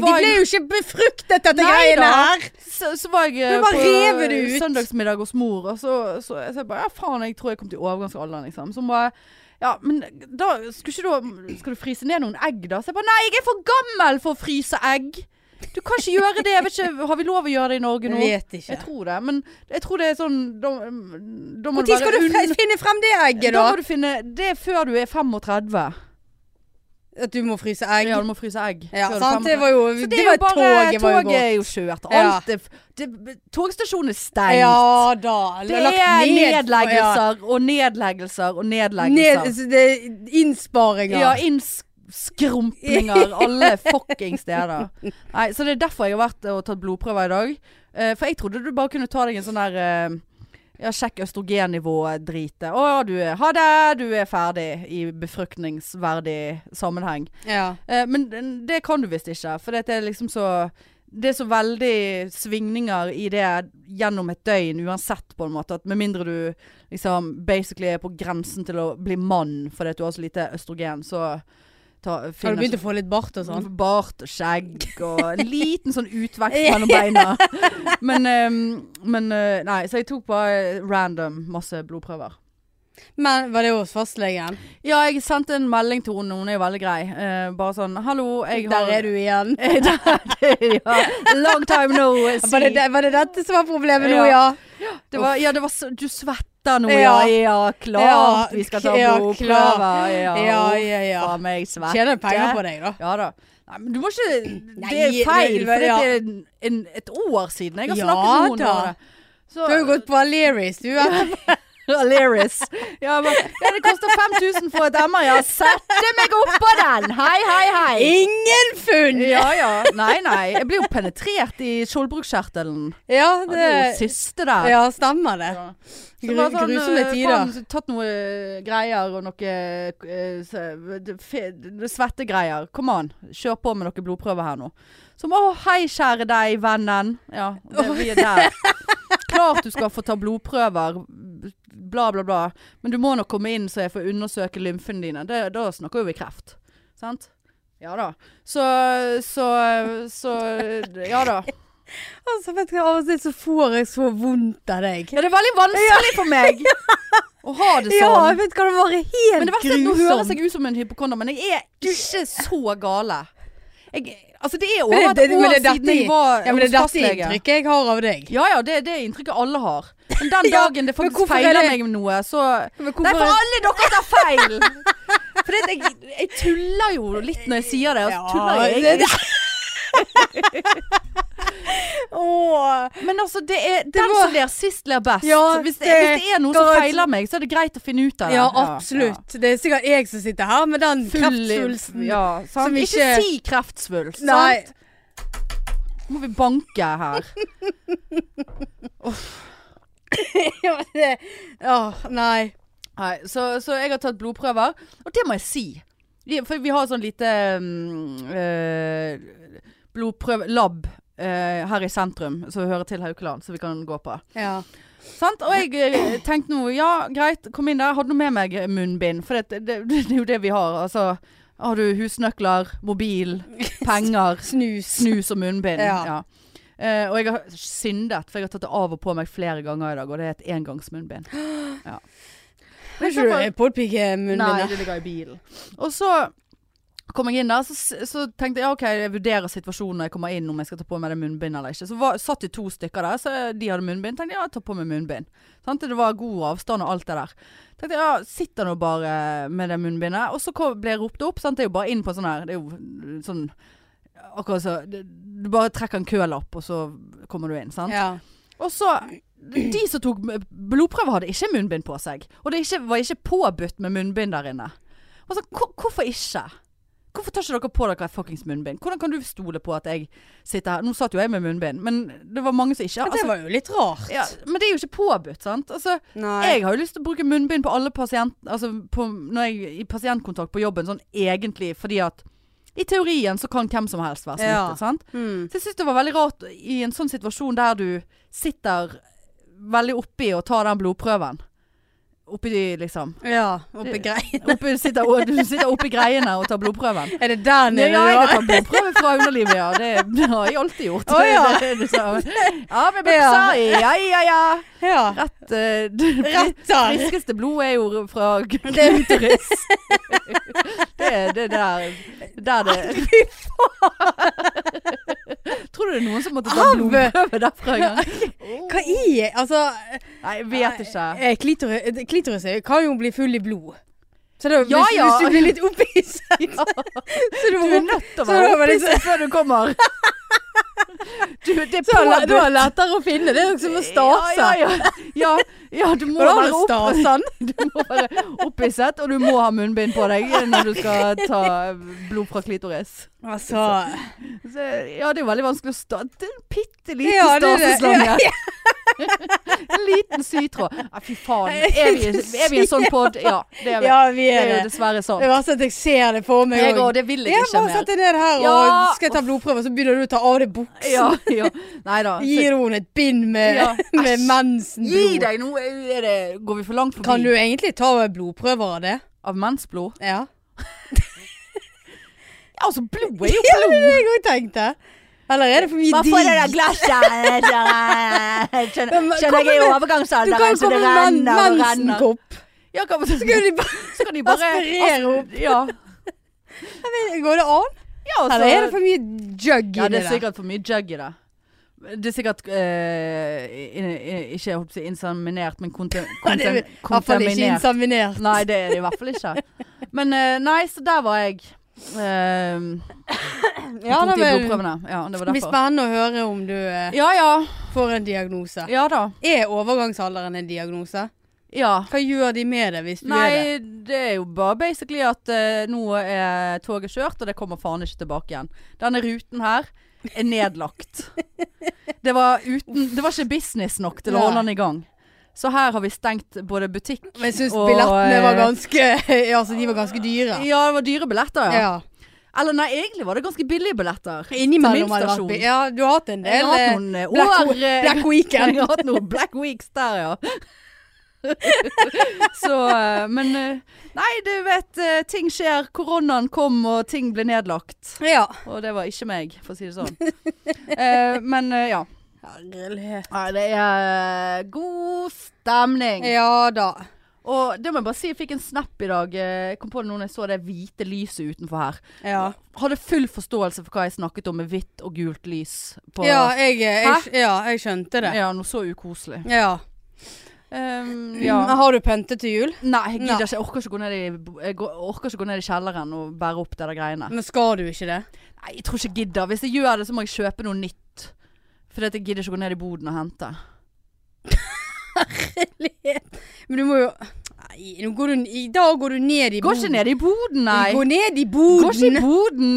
Speaker 1: så var
Speaker 2: De ble
Speaker 1: jeg-
Speaker 2: jo ikke befruktet, dette
Speaker 1: Nei
Speaker 2: greiene
Speaker 1: da.
Speaker 2: her!
Speaker 1: så, så var jeg eh,
Speaker 2: Men bare rev det
Speaker 1: på
Speaker 2: ut.
Speaker 1: søndagsmiddag hos mor, og så, så, jeg- så jeg bare Ja, faen, jeg tror jeg kom til overgangsalderen, liksom. Så bare ja, men da skulle ikke du Skal du fryse ned noen egg, da? Så jeg bare Nei, jeg er for gammel for å fryse egg! Du kan ikke gjøre det. Jeg vet ikke, har vi lov å gjøre det i Norge
Speaker 2: Jeg
Speaker 1: nå?
Speaker 2: vet
Speaker 1: Jeg
Speaker 2: ikke.
Speaker 1: tror det. Men jeg tror det er sånn Da, da må
Speaker 2: Når
Speaker 1: det
Speaker 2: skal
Speaker 1: være
Speaker 2: du fre-
Speaker 1: unn-
Speaker 2: finne frem det egget,
Speaker 1: Da
Speaker 2: da?
Speaker 1: må du finne Det er før du er 35.
Speaker 2: At du må fryse egg?
Speaker 1: Ja, du må fryse egg.
Speaker 2: Ja,
Speaker 1: før du er 35.
Speaker 2: sant? Det var jo
Speaker 1: Så
Speaker 2: Det var et tog jeg var jo
Speaker 1: Toget
Speaker 2: på.
Speaker 1: er jo kjørt.
Speaker 2: Ja.
Speaker 1: Alt er det, Togstasjonen er stengt.
Speaker 2: Ja da.
Speaker 1: det
Speaker 2: lagt
Speaker 1: er
Speaker 2: ned- ja.
Speaker 1: nedleggelser og nedleggelser og nedleggelser.
Speaker 2: Ned, så det er innsparing
Speaker 1: ja, innskrumpninger alle fucking steder. Nei, så det er derfor jeg har vært og tatt blodprøver i dag. Eh, for jeg trodde du bare kunne ta deg en sånn der eh, ja, sjekk østrogennivået-drite. Å, du er Ha det! Du er ferdig i befruktningsverdig sammenheng.
Speaker 2: ja.
Speaker 1: Eh, Men den- det kan du visst ikke, for det er liksom så det er så veldig svingninger i det gjennom et døgn uansett, på en måte. At med mindre du liksom basically er på grensen til å bli mann fordi at du har så lite østrogen, så ta,
Speaker 2: Har
Speaker 1: finner
Speaker 2: du begynt å få litt bart og sånn?
Speaker 1: Bart og skjegg og en liten sånn utvekst mellom beina. Men, eh, men eh, Nei, så jeg tok bare random masse blodprøver.
Speaker 2: Men var det hos fastlegen?
Speaker 1: Ja, jeg sendte en melding til henne, hun er jo veldig grei. Eh, bare sånn 'Hallo, jeg har
Speaker 2: Der er du igjen.
Speaker 1: ja. Long time no see.
Speaker 2: Var det, det- var det dette som var problemet nå,
Speaker 1: Ja.
Speaker 2: ja?
Speaker 1: Det var, ja, det var så, du svetter nå, ja.
Speaker 2: Ja.
Speaker 1: Ja, klart
Speaker 2: Ja,
Speaker 1: vi skal ta
Speaker 2: ja,
Speaker 1: blodprøver. Ja,
Speaker 2: Ja, ja, ja.
Speaker 1: Faen meg svette.
Speaker 2: Tjener penger på deg, da.
Speaker 1: Ja da. Nei, men du må ikke Det
Speaker 2: Nei,
Speaker 1: er feil,
Speaker 2: det-
Speaker 1: for det
Speaker 2: ja.
Speaker 1: er en, et år siden jeg har
Speaker 2: Ja
Speaker 1: snakket med
Speaker 2: da.
Speaker 1: henne. om det. Så,
Speaker 2: Du har jo gått på Aleris, du. etterpå.
Speaker 1: Aleris. Ja, men, ja, det koster 5000 for et MR, ja. Sette meg oppå den! Hei, hei, hei.
Speaker 2: Ingen funn!
Speaker 1: Ja ja. Nei, nei. Jeg blir jo penetrert i skjoldbruskkjertelen.
Speaker 2: Ja,
Speaker 1: Ja,
Speaker 2: det
Speaker 1: det er jo siste der.
Speaker 2: Ja, stemmer det.
Speaker 1: Ja.
Speaker 2: Gru,
Speaker 1: Så bare sånn,
Speaker 2: grusomme
Speaker 1: eh,
Speaker 2: tider.
Speaker 1: kom, Tatt noe eh, greier og noe eh, se- det- fe- det- svettegreier. Kom an, kjør på med noen blodprøver her nå. Som å hei, kjære deg, vennen. Ja, det, vi er der. Klart du skal få ta blodprøver, bla, bla, bla. Men du må nok komme inn så jeg får undersøke lymfene dine. Det, da snakker jo vi kreft. Sant? Ja da. Så, så, så Ja da.
Speaker 2: Altså, vet du, hva, av og til så får jeg så vondt av deg.
Speaker 1: Ja, det er veldig vanskelig for meg å ha det sånn.
Speaker 2: Ja, jeg vet hva det var helt
Speaker 1: Men det verste er at nå høres
Speaker 2: grusomt.
Speaker 1: jeg ut som en hypokonder, men jeg er ikke så gale. Jeg, altså det er over
Speaker 2: Men
Speaker 1: et
Speaker 2: det-
Speaker 1: år
Speaker 2: det- men det er
Speaker 1: siden jeg
Speaker 2: dette-
Speaker 1: var
Speaker 2: Ja, men det
Speaker 1: hos
Speaker 2: er dette
Speaker 1: fastlege.
Speaker 2: inntrykket jeg har av deg.
Speaker 1: Ja ja, det er det inntrykket alle har. Men den
Speaker 2: Ja,
Speaker 1: dagen det
Speaker 2: men
Speaker 1: faktisk
Speaker 2: hvorfor er
Speaker 1: feiler
Speaker 2: det-
Speaker 1: meg med noe, så
Speaker 2: Men
Speaker 1: Nei, for
Speaker 2: hvorfor
Speaker 1: alle dere tar feil! For det, jeg, jeg tuller jo litt når jeg sier det. Og så tuller jeg
Speaker 2: det- Åh.
Speaker 1: Men altså, det er den
Speaker 2: var-
Speaker 1: som ler sist, ler best.
Speaker 2: Ja,
Speaker 1: Så hvis, det,
Speaker 2: det-
Speaker 1: hvis det er noe som
Speaker 2: det-
Speaker 1: feiler meg, så er det greit å finne ut av det.
Speaker 2: Ja, absolutt. Det er sikkert jeg som sitter her med den kreftsvulsten.
Speaker 1: Ja, sant?
Speaker 2: som
Speaker 1: Ikke,
Speaker 2: ikke-
Speaker 1: si kreftsvulst.
Speaker 2: Nei.
Speaker 1: Sant? Må vi banke her?
Speaker 2: Ja, men det- Åh, nei.
Speaker 1: Nei, så, så jeg har tatt blodprøver, og det må jeg si. Vi- For vi har sånn lite mm, eh, blodprøvelab eh, her i sentrum som hører til Haukeland, som vi kan gå på.
Speaker 2: Ja.
Speaker 1: Sant? Og jeg eh, tenkte nå, ja greit, kom inn der. Hadde nå med meg eh, munnbind, for det, det, det er jo det vi har. Altså, har du husnøkler, mobil, penger,
Speaker 2: Snus.
Speaker 1: snus og munnbind.
Speaker 2: Ja.
Speaker 1: ja. Eh, og jeg har syndet, for jeg har tatt det av og på meg flere ganger i dag, og det er et engangsmunnbind.
Speaker 2: Det er ikke du eh,
Speaker 1: Nei,
Speaker 2: podpikemunnen
Speaker 1: det ligger i bilen. Og så kom jeg inn der, så, s- så tenkte jeg ja, ok, jeg vurderer situasjonen når jeg kommer inn, om jeg skal ta på meg det munnbindet eller ikke. Så var, satt det to stykker der, så de hadde munnbind. Tenkte jeg ja, jeg tar på meg munnbind. Sant? Det var god avstand og alt det der. Tenkte jeg ja, sitter nå bare med det munnbindet. Og så kom, ble jeg ropt opp, sant? det er jo bare inn på sånn her, det er jo sånn Akkurat så det- Du bare trekker en kølapp, og så kommer du inn, sant.
Speaker 2: Ja.
Speaker 1: Og så De som tok blodprøve, hadde ikke munnbind på seg. Og det ikke, var ikke påbudt med munnbind der inne. Og så, hvor- hvorfor ikke? Hvorfor tar ikke dere på dere et fuckings munnbind? Hvordan kan du stole på at jeg sitter her? Nå satt jo jeg med munnbind, men det var mange som ikke
Speaker 2: Det var jo litt rart.
Speaker 1: altså, ja, Men det er jo ikke påbudt, sant? Altså,
Speaker 2: Nei.
Speaker 1: jeg har jo lyst til å bruke munnbind på alle pasient... Altså på, når jeg i pasientkontakt på jobben, sånn egentlig fordi at I teorien så kan hvem som helst være
Speaker 2: Ja.
Speaker 1: smittet, sant?
Speaker 2: Mm.
Speaker 1: Så jeg syns det var veldig rart i en sånn situasjon der du sitter veldig oppi og tar den blodprøven. Oppi de, liksom.
Speaker 2: Ja, oppi greien.
Speaker 1: Oppi, sitter, og, du sitter oppi greiene og tar blodprøven.
Speaker 2: Er det
Speaker 1: Ja,
Speaker 2: der nede
Speaker 1: ja,
Speaker 2: du
Speaker 1: jeg
Speaker 2: var?
Speaker 1: tar blodprøve fra underlivet, ja. Det, det har jeg alltid gjort.
Speaker 2: Å, ja.
Speaker 1: Det er det du sa. ja, med buksa. Ja, ja, ja.
Speaker 2: Ja.
Speaker 1: Rett eh, det
Speaker 2: Rett der.
Speaker 1: friskeste blodet er jo fra klitoris. Det er det der, der det Tror du det er noen som måtte ta
Speaker 2: Av!
Speaker 1: blodprøve derfra en gang?
Speaker 2: Hva i Altså
Speaker 1: Nei, jeg vet ikke.
Speaker 2: eh, klitoris, klitoris er- kan jo bli full i blod. Så da,
Speaker 1: Ja,
Speaker 2: hvis,
Speaker 1: ja.
Speaker 2: hvis du blir litt opphisset Så du
Speaker 1: Du
Speaker 2: må
Speaker 1: er
Speaker 2: opp-
Speaker 1: nødt til å
Speaker 2: Så
Speaker 1: være
Speaker 2: da var det
Speaker 1: opphisset før du kommer. Du, det er
Speaker 2: så er det- da er
Speaker 1: påbudt.
Speaker 2: det lettere å finne. Det er liksom å stase.
Speaker 1: Ja, ja, ja. ja, ja du, må
Speaker 2: Hvordan
Speaker 1: være
Speaker 2: er
Speaker 1: opp,
Speaker 2: stasen?
Speaker 1: du må være opphisset, og du må ha munnbind på deg når du skal ta blod fra klitoris.
Speaker 2: Altså
Speaker 1: Så, ja, det er jo veldig vanskelig å sta... Det er en bitte liten
Speaker 2: Ja, det er det.
Speaker 1: staseslange. en liten sytråd. Ja, fy faen. Er vi, er vi en sånn pod? Ja, det er vi.
Speaker 2: Ja, vi
Speaker 1: Det
Speaker 2: er
Speaker 1: er jo
Speaker 2: det.
Speaker 1: dessverre sånn.
Speaker 2: Det verste er at jeg ser det for meg
Speaker 1: Jeg
Speaker 2: også.
Speaker 1: òg. Det vil jeg
Speaker 2: Ja,
Speaker 1: ikke
Speaker 2: bare
Speaker 1: mer.
Speaker 2: sett deg ned her
Speaker 1: Ja.
Speaker 2: og skal jeg ta blodprøver, så begynner du å ta av deg buksen.
Speaker 1: Ja, ja. Nei da.
Speaker 2: Gir hun et bind med,
Speaker 1: Ja.
Speaker 2: med
Speaker 1: Gi
Speaker 2: mensenblod?
Speaker 1: deg nå! Er det, går vi for langt forbi
Speaker 2: Kan du egentlig ta blodprøver av det?
Speaker 1: av mensblod?
Speaker 2: Ja.
Speaker 1: Ja, altså, blod er jo
Speaker 2: Ja, det er det jeg òg tenkte. Eller er det for mye digg?
Speaker 1: glasset?
Speaker 2: Men- Skjønner jeg er i Du kan komme med men- mensenkopp.
Speaker 1: Ja, kan, så
Speaker 2: Skal de bare
Speaker 1: kan de bare
Speaker 2: aspirere opp?
Speaker 1: Ja.
Speaker 2: Går det an?
Speaker 1: ja altså,
Speaker 2: Eller er det for mye jug
Speaker 1: Ja,
Speaker 2: i
Speaker 1: det
Speaker 2: det
Speaker 1: er
Speaker 2: der?
Speaker 1: sikkert for mye jug i det. Det er sikkert eh, i- i- ikke jeg håper å si inseminert, men kontem
Speaker 2: Det er
Speaker 1: kontem
Speaker 2: i hvert fall ikke
Speaker 1: kontaminert.
Speaker 2: insaminert.
Speaker 1: Nei, det er det i hvert fall ikke. Men eh, nei, så der var jeg. Uh,
Speaker 2: Ja, det
Speaker 1: tok de
Speaker 2: vil-
Speaker 1: blodprøvene. Ja, det var
Speaker 2: blir
Speaker 1: derfor.
Speaker 2: spennende å høre om du eh,
Speaker 1: Ja ja.
Speaker 2: får en diagnose.
Speaker 1: Ja da.
Speaker 2: Er overgangsalderen en diagnose?
Speaker 1: Ja.
Speaker 2: Hva gjør de med det hvis du er det?
Speaker 1: Nei, det er jo bare basically at eh, nå er toget kjørt, og det kommer faen ikke tilbake igjen. Denne ruten her er nedlagt. Det var, uten, det var ikke business nok til å
Speaker 2: Nei.
Speaker 1: holde den i gang. Så her har vi stengt både butikk
Speaker 2: Men jeg syns
Speaker 1: og,
Speaker 2: billettene
Speaker 1: eh,
Speaker 2: var ganske ja, altså, de var ganske dyre.
Speaker 1: Ja, det var dyre billetter, ja.
Speaker 2: Ja.
Speaker 1: Eller nei, egentlig var det ganske billige billetter. Til
Speaker 2: Innimellom
Speaker 1: min
Speaker 2: hadde det vært
Speaker 1: stasjon.
Speaker 2: bi- Ja, du har hatt en
Speaker 1: Jeg
Speaker 2: del
Speaker 1: har
Speaker 2: eh,
Speaker 1: hatt noen eh,
Speaker 2: Black,
Speaker 1: år eh,
Speaker 2: Black Weekend.
Speaker 1: Jeg har hatt noen Black Weeks der, ja. så, eh, men eh, Nei, du vet, eh, ting skjer. Koronaen kom, og ting ble nedlagt.
Speaker 2: Ja.
Speaker 1: Og det var ikke meg, for å si det sånn. Eh, men eh, ja.
Speaker 2: Herlighet.
Speaker 1: Nei, det er eh, god stemning.
Speaker 2: Ja da.
Speaker 1: Og det må jeg bare si, jeg fikk en snap i dag. eh, kom på det nå når jeg så det hvite lyset utenfor her.
Speaker 2: Ja,
Speaker 1: Hadde full forståelse for hva jeg snakket om med hvitt og gult lys. På,
Speaker 2: ja, jeg, jeg,
Speaker 1: Hæ?
Speaker 2: ja jeg skjønte det.
Speaker 1: Ja, noe så ukoselig.
Speaker 2: Ja.
Speaker 1: Eh, ja.
Speaker 2: Men Har du pøntet til jul?
Speaker 1: Nei, jeg gidder
Speaker 2: Nei.
Speaker 1: ikke. Jeg orker ikke, gå ned i, jeg går- orker ikke gå ned i kjelleren og bære opp det der greiene.
Speaker 2: Men skal du ikke det?
Speaker 1: Nei, jeg tror ikke jeg gidder. Hvis jeg gjør det, så må jeg kjøpe noe nytt. Fordi at jeg gidder ikke gå ned i boden og hente.
Speaker 2: Men du må jo Nei, nå går du, i dag går du ned i
Speaker 1: Går ikke ned i boden, nei.
Speaker 2: Gå ned
Speaker 1: Går ikke
Speaker 2: i
Speaker 1: i
Speaker 2: boden.
Speaker 1: boden.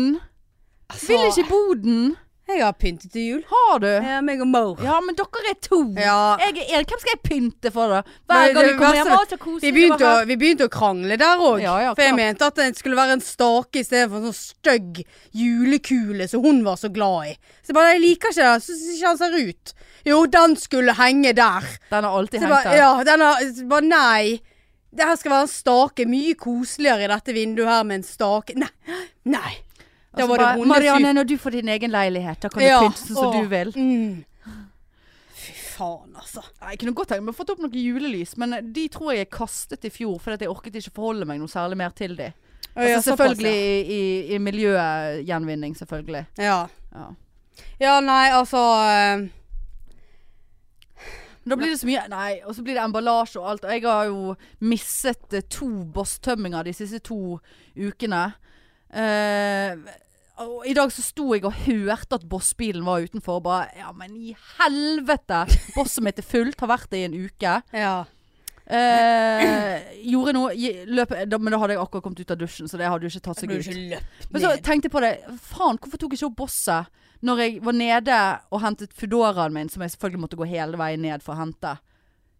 Speaker 2: Altså,
Speaker 1: Vil ikke i boden.
Speaker 2: Jeg har pyntet til jul.
Speaker 1: Har du?
Speaker 2: Ja, meg og Mo.
Speaker 1: Ja, men dere er to.
Speaker 2: Ja.
Speaker 1: Jeg er en. Hvem skal jeg pynte for, da? Hver
Speaker 2: Men
Speaker 1: gang
Speaker 2: det
Speaker 1: vi kommer
Speaker 2: verste-
Speaker 1: hjem, å, så koselig.
Speaker 2: Vi begynte,
Speaker 1: det var
Speaker 2: å, vi begynte å krangle der òg.
Speaker 1: Ja, ja,
Speaker 2: for jeg
Speaker 1: klart.
Speaker 2: mente at det skulle være en stake istedenfor en sånn stygg julekule som hun var så glad i. Så jeg bare jeg liker ikke det. Jeg syns ikke han ser ut. Jo, den skulle henge der.
Speaker 1: her. Den har alltid
Speaker 2: Så
Speaker 1: hengt
Speaker 2: jeg bare,
Speaker 1: der.
Speaker 2: ja, den har, så jeg bare nei. Det her skal være en stake. Mye koseligere i dette vinduet her med en stake. Nei. Nei.
Speaker 1: Og
Speaker 2: Da
Speaker 1: så
Speaker 2: var det
Speaker 1: Altså bare,
Speaker 2: hundesyk.
Speaker 1: Marianne, når du får din egen leilighet, da kan du
Speaker 2: Ja,
Speaker 1: pynte sånn som
Speaker 2: åh,
Speaker 1: du vil.
Speaker 2: Mm. Fy faen, altså.
Speaker 1: Nei, Jeg kunne godt tenkt meg å fått opp noen julelys, men eh, de tror jeg jeg kastet i fjor fordi at jeg orket ikke forholde meg noe særlig mer til de. Altså, selvfølgelig i, i, i miljøgjenvinning, selvfølgelig.
Speaker 2: Ja.
Speaker 1: Ja.
Speaker 2: ja, nei, altså eh,
Speaker 1: Men Da blir det så mye Nei, og så blir det emballasje og alt. Og jeg har jo misset eh, to bosstømminger de siste to ukene. Eh, og I dag så sto jeg og hørte at bossbilen var utenfor. Og bare Ja, men i helvete! Bosset mitt er fullt, har vært det i en uke.
Speaker 2: Ja.
Speaker 1: Eh, gjorde noe gi- løp, da, Men da hadde jeg akkurat kommet ut av dusjen, så det hadde jo ikke tatt
Speaker 2: Så
Speaker 1: seg
Speaker 2: burde
Speaker 1: ut.
Speaker 2: du ikke løpt
Speaker 1: Men så
Speaker 2: ned.
Speaker 1: tenkte jeg på det. Faen, hvorfor tok jeg ikke opp bosset når jeg var nede og hentet Foodoraen min, som jeg selvfølgelig måtte gå hele veien ned for å hente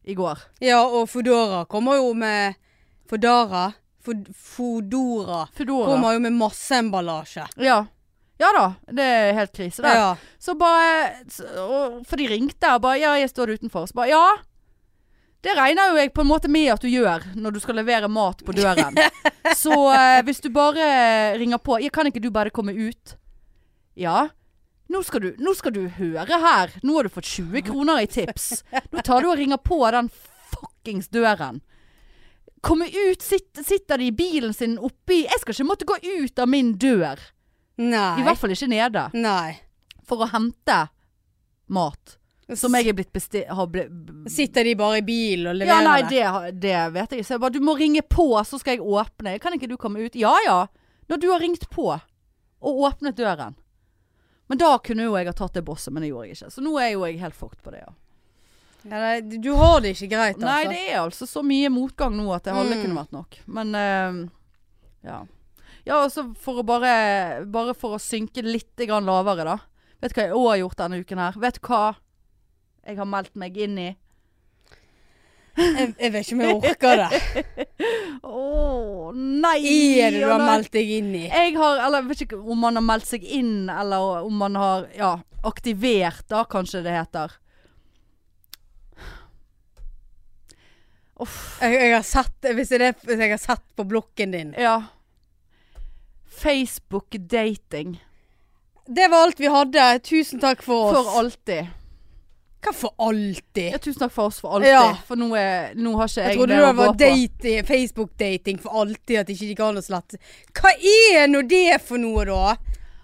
Speaker 1: i går?
Speaker 2: Ja, og Foodora kommer jo med Fodora Fod- Foodora
Speaker 1: Foodora.
Speaker 2: kommer jo med masse emballasje.
Speaker 1: Ja. ja da. Det er helt krise, det.
Speaker 2: Ja.
Speaker 1: Så bare så- og, For de ringte og bare Ja, jeg står utenfor. Så bare Ja. Det regner jo jeg på en måte med at du gjør når du skal levere mat på døren. Så eh, hvis du bare eh, ringer på Ja, kan ikke du bare komme ut? Ja. Nå skal, du, nå skal du høre her. Nå har du fått 20 kroner i tips. Nå tar du og ringer på den fuckings døren. Komme ut, sitt, sitter de i bilen sin oppi Jeg skal ikke måtte gå ut av min dør. I
Speaker 2: Nei.
Speaker 1: hvert fall ikke nede
Speaker 2: Nei.
Speaker 1: for å hente mat. Som jeg er blitt bestilt har ble, b-
Speaker 2: Sitter de bare i bil og
Speaker 1: Ja,
Speaker 2: leverer
Speaker 1: nei, det, har- det vet jeg. Så jeg bare Du må ringe på, så skal jeg åpne. Kan ikke du komme ut? Ja ja. Når du har ringt på og åpnet døren. Men da kunne jo jeg ha tatt det bosset, men det gjorde jeg ikke. Så nå er jo jeg helt fucked på det, ja.
Speaker 2: Ja, nei, du har det ikke greit, altså.
Speaker 1: Nei, det er altså så mye motgang nå at det aldri
Speaker 2: Mm.
Speaker 1: kunne vært nok. Men eh, ja. Ja, altså for å bare Bare for å synke litt grann lavere, da. Vet du hva jeg òg har gjort denne uken her? Vet du hva jeg har meldt meg inn i?
Speaker 2: jeg, jeg vet ikke om jeg orker det.
Speaker 1: Å nei!
Speaker 2: I er det du
Speaker 1: å,
Speaker 2: har
Speaker 1: nei.
Speaker 2: meldt deg inn i.
Speaker 1: Jeg har, eller jeg vet ikke om man har meldt seg inn, eller om man har ja, aktivert, da kanskje det heter. Uff.
Speaker 2: Jeg, jeg har sett, hvis det er det hvis jeg har sett på blokken din.
Speaker 1: Ja. Facebook-dating.
Speaker 2: Det var alt vi hadde. Tusen takk for oss.
Speaker 1: For alltid.
Speaker 2: Hva for alltid?
Speaker 1: Ja, tusen takk for oss for alltid.
Speaker 2: Ja.
Speaker 1: For nå, er, nå har ikke jeg,
Speaker 2: Jeg trodde
Speaker 1: mer å
Speaker 2: det var
Speaker 1: gå på.
Speaker 2: date- Facebook-dating for alltid, at ikke de ikke kan å slette. Hva er nå det for noe, da?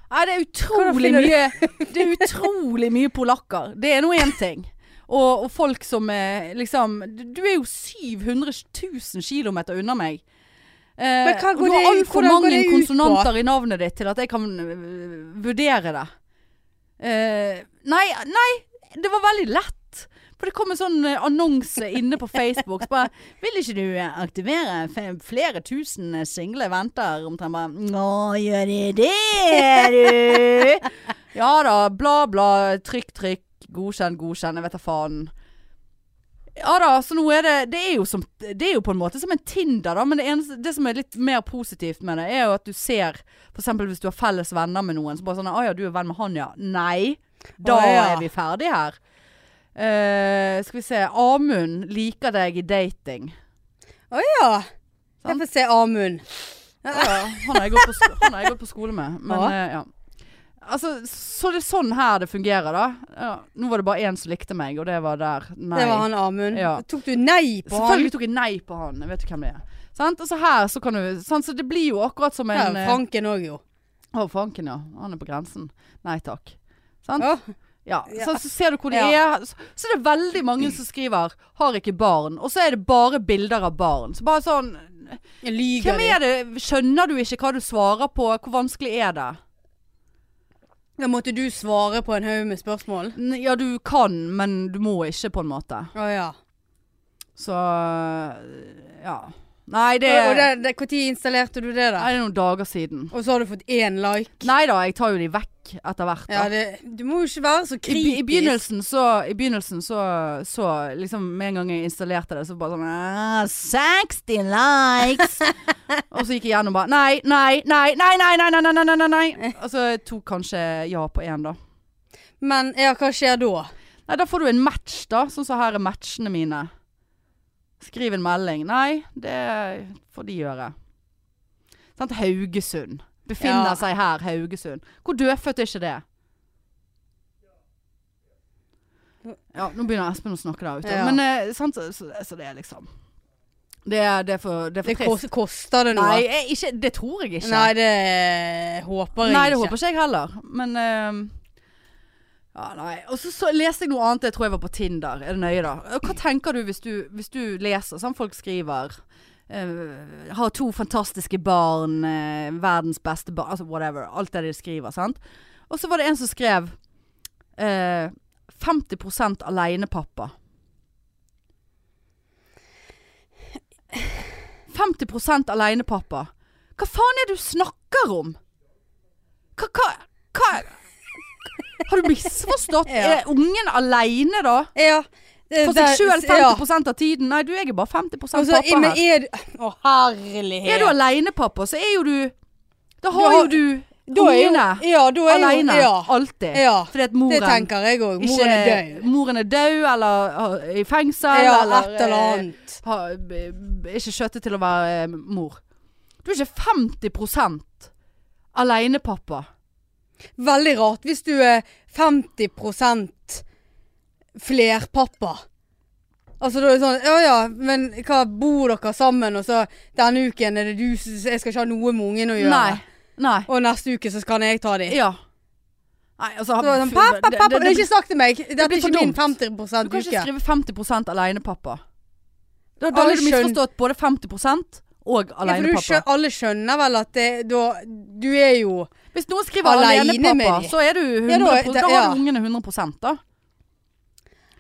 Speaker 1: Nei, det er utrolig
Speaker 2: Hvordan
Speaker 1: mye Det er utrolig mye polakker. Det er nå én ting. Og, og folk som er liksom Du er jo 700 000 km unna meg. Eh,
Speaker 2: Men hva
Speaker 1: og
Speaker 2: går
Speaker 1: du har
Speaker 2: det-
Speaker 1: altfor
Speaker 2: hvordan går
Speaker 1: mange
Speaker 2: det ut på?
Speaker 1: konsonanter i navnet ditt til at jeg kan øh, vurdere det. Eh, nei, nei, det var veldig lett. For det kom en sånn eh, annonse inne på Facebook. så Bare, vil ikke du eh, aktivere F- flere tusen eh, single venter? Omtrent bare Nå gjør de det, du! ja da, bla bla, trykk, trykk, godkjenn, godkjenn, jeg vet da faen. Ja da, så nå er det Det er jo, som, det er jo på en måte som en Tinder, da. Men det, eneste, det som er litt mer positivt med det, er jo at du ser For eksempel hvis du har felles venner med noen, så bare sånn Å ja, du er venn med han, ja. Nei. Da
Speaker 2: Å, ja.
Speaker 1: er vi ferdige her. Eh, skal vi se. Amund liker deg i dating.
Speaker 2: Å ja. Jeg
Speaker 1: Sant?
Speaker 2: får se Amund.
Speaker 1: Han har jeg gått på, sko han har jeg gått på skole med. Men,
Speaker 2: Ja.
Speaker 1: eh, ja. Altså, så det er sånn her det fungerer, da. Ja. Nå var det bare én som likte meg, og det var der. Nei.
Speaker 2: Det var han Amund.
Speaker 1: Ja.
Speaker 2: Tok du nei på han?
Speaker 1: Selvfølgelig tok jeg nei på han. Jeg vet jo hvem det er. Sant? Og så her så kan du sant? Så det blir jo akkurat som
Speaker 2: Ja,
Speaker 1: en eh,
Speaker 2: Franken òg, jo.
Speaker 1: Å, Franken, ja. Han er på grensen. Nei takk. Sant?
Speaker 2: Å,
Speaker 1: Ja.
Speaker 2: Ja.
Speaker 1: Så, så ser du hvor de
Speaker 2: Ja.
Speaker 1: er. Så, så er det veldig mange som skriver 'har ikke barn', og så er det bare bilder av barn. Så bare sånn
Speaker 2: jeg lyger.
Speaker 1: Hvem er det? Skjønner du ikke hva du svarer på? Hvor vanskelig er det?
Speaker 2: Da måtte du svare på en haug med spørsmål.
Speaker 1: N- Ja, du kan, men du må ikke, på en måte.
Speaker 2: Å ja.
Speaker 1: Så ja. Nei, det er,
Speaker 2: Og det, det, hvor tid installerte du det, da?
Speaker 1: Nei, det er noen dager siden.
Speaker 2: Og så har du fått én like.
Speaker 1: Nei da, jeg tar jo de vekk etter hvert. da.
Speaker 2: Ja, det, du må jo ikke være så
Speaker 1: I,
Speaker 2: kritisk.
Speaker 1: be- I begynnelsen, så, i begynnelsen så, så liksom Med en gang jeg installerte det, så bare sånn «Ah, 60 likes! og så gikk jeg gjennom bare Nei, nei, nei, nei, nei, nei, nei, nei, nei, nei, nei. Og så tok kanskje ja på én, da.
Speaker 2: Men ja, hva skjer da?
Speaker 1: Nei, da får du en match, da. Sånn som her er matchene mine. Skriv en melding. Nei, det får de gjøre. Sant, Haugesund. Befinner
Speaker 2: Ja.
Speaker 1: seg her, Haugesund. Hvor dødfødt er ikke det? Ja, nå begynner Espen å snakke der ute.
Speaker 2: Ja.
Speaker 1: Men eh, sant, så, så, så det er liksom Det er, det er for, det er
Speaker 2: Det
Speaker 1: for trist.
Speaker 2: kos- koster det noe?
Speaker 1: Nei, jeg, ikke, det tror jeg ikke.
Speaker 2: Nei, det håper jeg
Speaker 1: Nei, det
Speaker 2: ikke.
Speaker 1: håper ikke jeg heller. Men ehm, ja, nei. Og så, så leste jeg noe annet jeg tror jeg var på Tinder. Er det nøye, da? Hva tenker du hvis du, hvis du leser sånn folk skriver eh, Har to fantastiske barn, eh, verdens beste barn Altså whatever. Alt det de skriver, sant? Og så var det en som skrev eh, 50 alenepappa. 50 alenepappa. Hva faen er det du snakker om? Hva, hva, hva Har du misforstått?
Speaker 2: Ja.
Speaker 1: Er ungen aleine, da?
Speaker 2: Ja. det-
Speaker 1: For
Speaker 2: det-
Speaker 1: seg sjøl
Speaker 2: ja.
Speaker 1: 50 av tiden? Nei, du jeg er bare 50
Speaker 2: Og så-
Speaker 1: pappa
Speaker 2: men
Speaker 1: her.
Speaker 2: er du Å, herlighet.
Speaker 1: Er du aleine, pappa, så er jo du Da
Speaker 2: Da-
Speaker 1: har jo du
Speaker 2: Da er jo-
Speaker 1: ungene
Speaker 2: Ja, da er jo
Speaker 1: aleine.
Speaker 2: Ja.
Speaker 1: Alltid.
Speaker 2: ja.
Speaker 1: Fordi at
Speaker 2: Det
Speaker 1: moren
Speaker 2: tenker jeg òg.
Speaker 1: ikke-
Speaker 2: Moren er død.
Speaker 1: Moren er død, eller uh, i fengsel,
Speaker 2: Ja,
Speaker 1: eller
Speaker 2: et eller
Speaker 1: eh,
Speaker 2: annet.
Speaker 1: ha- b- b- ikke skjøttet til å være eh, mor. Du er ikke 50 alenepappa.
Speaker 2: Veldig rart hvis du er 50 flerpappa. Altså da er det sånn Ja ja, men hva bor dere sammen, og så denne uken er det du som Jeg skal ikke ha noe med ungen å gjøre.
Speaker 1: Nei. Nei.
Speaker 2: Og neste uke så kan jeg ta de.
Speaker 1: Ja. Nei, altså
Speaker 2: Så var det sånn, pappa, pappa,
Speaker 1: det, det,
Speaker 2: ikke snakk til meg! Dette er
Speaker 1: blir for
Speaker 2: ikke min
Speaker 1: dumt.
Speaker 2: 50 uke.
Speaker 1: Du kan ikke skrive 50 alene, pappa. Da, da
Speaker 2: Alle
Speaker 1: hadde du
Speaker 2: skjøn-
Speaker 1: misforstått både 50 og
Speaker 2: ja, for
Speaker 1: alene,
Speaker 2: du
Speaker 1: pappa.
Speaker 2: skjø- alle skjønner vel at det, da, du er jo
Speaker 1: Hvis noen skriver
Speaker 2: Alene
Speaker 1: alene,
Speaker 2: med
Speaker 1: pappa,
Speaker 2: de.
Speaker 1: så er du 100
Speaker 2: Ja, da er-
Speaker 1: Da
Speaker 2: ja.
Speaker 1: har du ungene 100 da.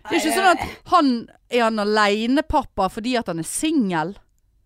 Speaker 1: Det er ikke sånn
Speaker 2: eh.
Speaker 1: at han er han alene, pappa, fordi at han er singel.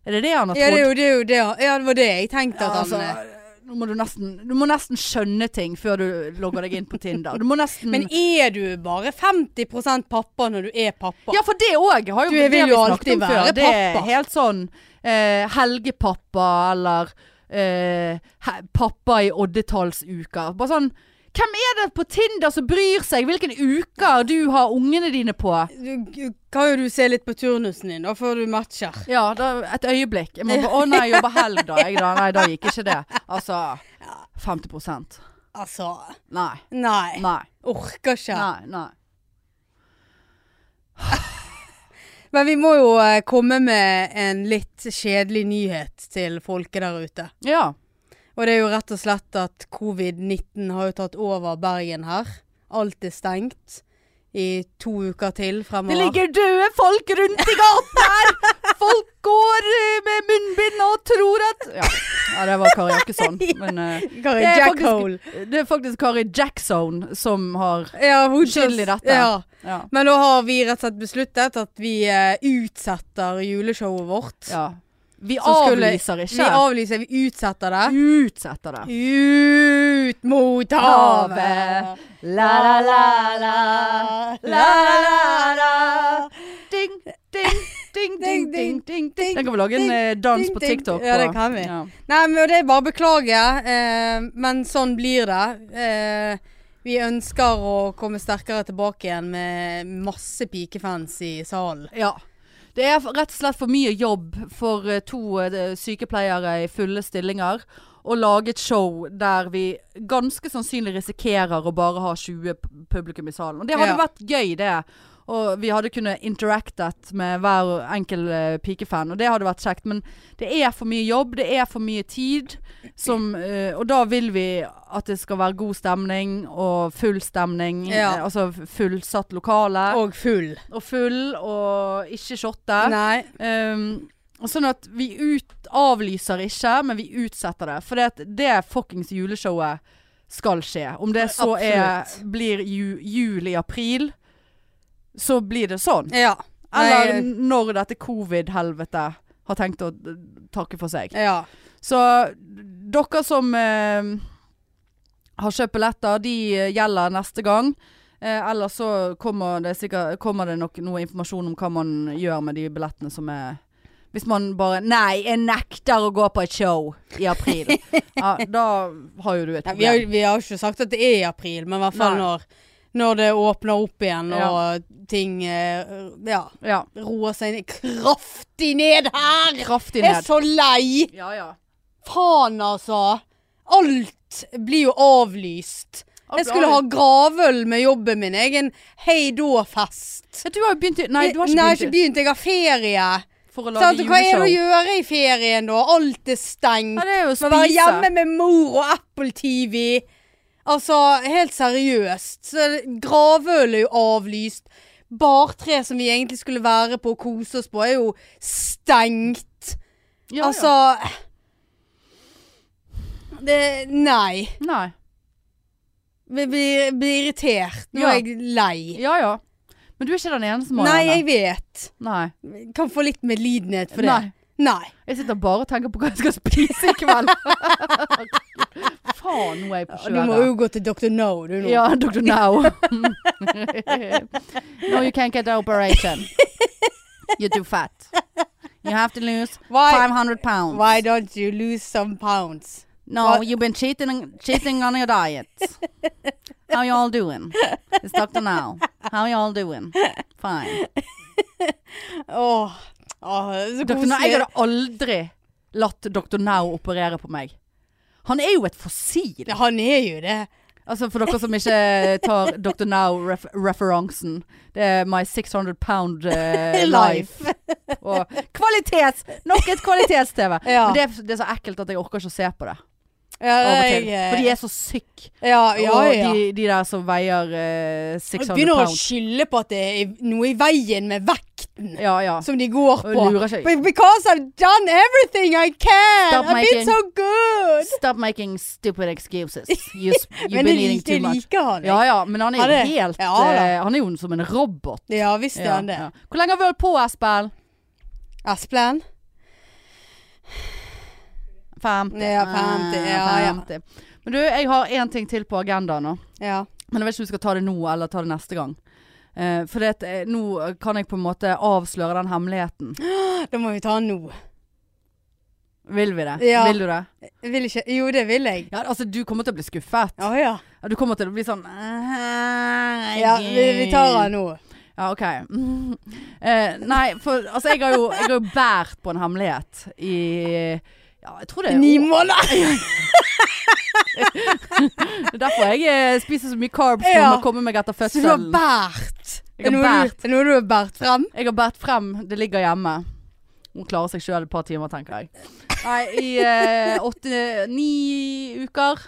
Speaker 1: Er det det han har
Speaker 2: Ja, det er
Speaker 1: trodd? altså,
Speaker 2: jo det. Er jo det. Ja, det var det jeg tenkte at han
Speaker 1: mm.
Speaker 2: eh,
Speaker 1: nå må du, nesten, du må nesten skjønne ting før du logger deg inn på Tinder. Du må nesten
Speaker 2: Men er du bare 50 pappa når du er pappa?
Speaker 1: Ja, for det òg har jo
Speaker 2: Du, jeg vil
Speaker 1: det har vi
Speaker 2: jo
Speaker 1: snakket
Speaker 2: alltid
Speaker 1: om før.
Speaker 2: være
Speaker 1: Det er
Speaker 2: pappa.
Speaker 1: helt sånn eh, helgepappa eller eh, he, pappa i oddetallsuka. Bare sånn Hvem er det på Tinder som bryr seg hvilken uker du har ungene dine på?
Speaker 2: du, du- kan jo du se litt på turnusen din, da, før du matcher.
Speaker 1: Ja, da, et øyeblikk. Jeg må bare, Å nei, jeg jobber helg da. Jeg, da. Nei, da gikk ikke det. Altså 50
Speaker 2: Altså
Speaker 1: Nei.
Speaker 2: Nei.
Speaker 1: Nei.
Speaker 2: Orker ikke.
Speaker 1: Nei. nei.
Speaker 2: Men vi må jo eh, komme med en litt kjedelig nyhet til folket der ute.
Speaker 1: Ja.
Speaker 2: Og det er jo rett og slett at covid-19 har jo tatt over Bergen her. Alt er stengt i to uker til
Speaker 1: Det
Speaker 2: fremover.
Speaker 1: ligger døde folk rundt i gaten her! folk går eh, med munnbind og tror at Ja, ja det var Kari Jakkesson. Men eh,
Speaker 2: Kari
Speaker 1: det, er
Speaker 2: Jackhole.
Speaker 1: faktisk, det er faktisk Kari Jackson som har
Speaker 2: Ja, hun
Speaker 1: skyld i dette.
Speaker 2: Ja.
Speaker 1: Ja.
Speaker 2: Men da har vi rett og slett besluttet at vi eh, utsetter juleshowet vårt.
Speaker 1: ja. Vi
Speaker 2: Som skulle-
Speaker 1: avlyser
Speaker 2: Vi
Speaker 1: ikke.
Speaker 2: avlyser, vi utsetter det.
Speaker 1: Utsetter det.
Speaker 2: Ut mot havet!
Speaker 1: La la la la. La la la. Ding, ding, ding, ding, ding, ding, ding. Den kan vi lage en eh, dans
Speaker 2: ding,
Speaker 1: på
Speaker 2: ding.
Speaker 1: TikTok på.
Speaker 2: Ja, det kan vi.
Speaker 1: Ja.
Speaker 2: Nei, men det er bare å beklage, eh, men sånn blir det. Eh, vi ønsker å komme sterkere tilbake igjen med masse pikefans i salen.
Speaker 1: Ja. Det er rett og slett for mye jobb for eh, to eh, sykepleiere i fulle stillinger å lage et show der vi ganske sannsynlig risikerer å bare ha 20 p- publikum i salen. Og det hadde
Speaker 2: Ja.
Speaker 1: vært gøy, det. Og vi hadde kunnet interactet med hver enkel eh, pikefan, og det hadde vært kjekt. Men det er for mye jobb, det er for mye tid, som, eh, og da vil vi at det skal være god stemning og full stemning.
Speaker 2: Ja.
Speaker 1: eh, Altså fullsatt lokale
Speaker 2: Og full.
Speaker 1: og full og ikke shotte.
Speaker 2: Nei.
Speaker 1: Um, og sånn at vi ut, avlyser ikke, men vi utsetter det. For det, det fuckings juleshowet skal skje. Om det så er,
Speaker 2: Absolutt.
Speaker 1: blir ju, juli-april, så blir det sånn.
Speaker 2: Ja.
Speaker 1: Eller
Speaker 2: Nei,
Speaker 1: når dette covid-helvetet har tenkt å eh, takke for seg.
Speaker 2: ja.
Speaker 1: Så dere som eh, har kjøpt billetter, de eh, gjelder neste gang. Eh, ellers så kommer det, sikkert, kommer det nok noe informasjon om hva man gjør med de billettene som er Hvis man bare Nei, jeg nekter å gå på et show i april. ja, da har jo du et
Speaker 2: Nei, vi, har,
Speaker 1: problem.
Speaker 2: vi har jo ikke sagt at det er i april, men i hvert fall
Speaker 1: Nei.
Speaker 2: når, når det åpner opp igjen og ting eh, ja,
Speaker 1: Ja.
Speaker 2: roer seg ned. kraftig ned her!
Speaker 1: Kraftig
Speaker 2: Jeg er
Speaker 1: ned.
Speaker 2: så lei!
Speaker 1: Ja ja.
Speaker 2: Faen, altså! Alt blir jo avlyst.
Speaker 1: Ah,
Speaker 2: Jeg skulle ha gravøl med jobben min. Jeg er en hei da-fest.
Speaker 1: Ja, Du har jo begynt i Nei, du har ikke
Speaker 2: Nei, jeg
Speaker 1: begynt i-
Speaker 2: Jeg har ferie.
Speaker 1: for å
Speaker 2: Sant?
Speaker 1: lage
Speaker 2: Hva er det å
Speaker 1: juleshow.
Speaker 2: gjøre i ferien, da? Alt er stengt.
Speaker 1: Ja, det er jo å
Speaker 2: Må være hjemme
Speaker 1: spise.
Speaker 2: med mor og Apple TV. Altså, helt seriøst. Så Gravøl er jo avlyst. Bartre, som vi egentlig skulle være på og kose oss på, er jo stengt.
Speaker 1: Ja,
Speaker 2: altså
Speaker 1: ja.
Speaker 2: Det Nei.
Speaker 1: Nei.
Speaker 2: Vi blir, blir irritert. Nå
Speaker 1: Ja.
Speaker 2: er jeg lei.
Speaker 1: Ja ja. Men du er ikke den eneste,
Speaker 2: Nei,
Speaker 1: Marianne.
Speaker 2: jeg vet.
Speaker 1: Nei.
Speaker 2: Kan få litt medlidenhet for det.
Speaker 1: Nei.
Speaker 2: Nei.
Speaker 1: Jeg sitter bare og tenker på hva jeg skal spise i kveld. Faen, nå er jeg på
Speaker 2: Du må
Speaker 1: kjøret.
Speaker 2: jo gå til Dr. No, du nå.
Speaker 1: Ja, Dr. Now. no, you can't get the operation. You're too fat. You have to lose
Speaker 2: why,
Speaker 1: 500 pounds.
Speaker 2: why don't you lose some pounds?
Speaker 1: No, you've been cheating, cheating on your diet. How you all doing? It's Dr. Now. How you all doing? Fine.
Speaker 2: Åh, åh, det er så
Speaker 1: Dr. Now, jeg
Speaker 2: koselig.
Speaker 1: hadde aldri latt Dr. Now operere på meg. Han er jo et fossil.
Speaker 2: Ja, Han er jo det.
Speaker 1: Altså For dere som ikke tar Dr. Now-referansen. det er My 600 Pound eh, Life. Og kvalitets! Nok et kvalitets-TV.
Speaker 2: Ja.
Speaker 1: Men det, er- det er så ekkelt at jeg orker ikke å se på det.
Speaker 2: Ja,
Speaker 1: Av og til.
Speaker 2: jeg,
Speaker 1: For de er så syke.
Speaker 2: ja, ja,
Speaker 1: og
Speaker 2: ja.
Speaker 1: de, de der som veier eh,
Speaker 2: Jeg
Speaker 1: 600
Speaker 2: begynner å
Speaker 1: pound.
Speaker 2: skylde på at det er noe i veien med vekten
Speaker 1: Ja, ja.
Speaker 2: som de går
Speaker 1: Og
Speaker 2: på.
Speaker 1: lurer seg.
Speaker 2: Be- Because I've done everything I can!
Speaker 1: Stop
Speaker 2: I've been
Speaker 1: making-
Speaker 2: so good!
Speaker 1: Stop making stupid excuses. You, s- you've
Speaker 2: Men
Speaker 1: been
Speaker 2: jeg
Speaker 1: eating
Speaker 2: liker,
Speaker 1: too
Speaker 2: jeg
Speaker 1: much.
Speaker 2: liker han. jeg.
Speaker 1: Ja ja, men han er
Speaker 2: Han
Speaker 1: jo
Speaker 2: er-
Speaker 1: helt
Speaker 2: Ja, da.
Speaker 1: eh, Han er jo som en robot.
Speaker 2: Ja visst er
Speaker 1: Ja,
Speaker 2: han det.
Speaker 1: ja. Hvor lenge har vi holdt på, Espen?
Speaker 2: Asplan?
Speaker 1: 50.
Speaker 2: Ja, 50,
Speaker 1: Eh,
Speaker 2: ja, ja.
Speaker 1: 50. Men du, jeg har én ting til på agendaen nå.
Speaker 2: Ja.
Speaker 1: Men jeg vet ikke om vi skal ta det nå, eller ta det neste gang. Eh, for det, at, eh, nå kan jeg på en måte avsløre den hemmeligheten.
Speaker 2: Da må vi ta han nå.
Speaker 1: Vil vi det?
Speaker 2: Ja.
Speaker 1: Vil du det?
Speaker 2: Jeg Vil ikke Jo, det vil jeg.
Speaker 1: Ja, altså, du kommer til å bli skuffet.
Speaker 2: Å ja.
Speaker 1: Ja, Du kommer til å bli sånn
Speaker 2: ja vi, vi tar han nå.
Speaker 1: Ja, OK. Mm. Eh, nei, for altså, jeg har jo, jeg har jo båret på en hemmelighet i Ja, jeg tror det er
Speaker 2: Ni måneder!
Speaker 1: Det er derfor jeg eh, spiser så mye carbs for
Speaker 2: Ja.
Speaker 1: å komme meg etter
Speaker 2: Så du har
Speaker 1: fødselen.
Speaker 2: båret.
Speaker 1: Jeg har
Speaker 2: Er noe du- er noe du har båret frem?
Speaker 1: Jeg har båret frem, det ligger hjemme. Hun klarer seg sjøl et par timer, tenker jeg. Nei, i eh, åtte-ni uker.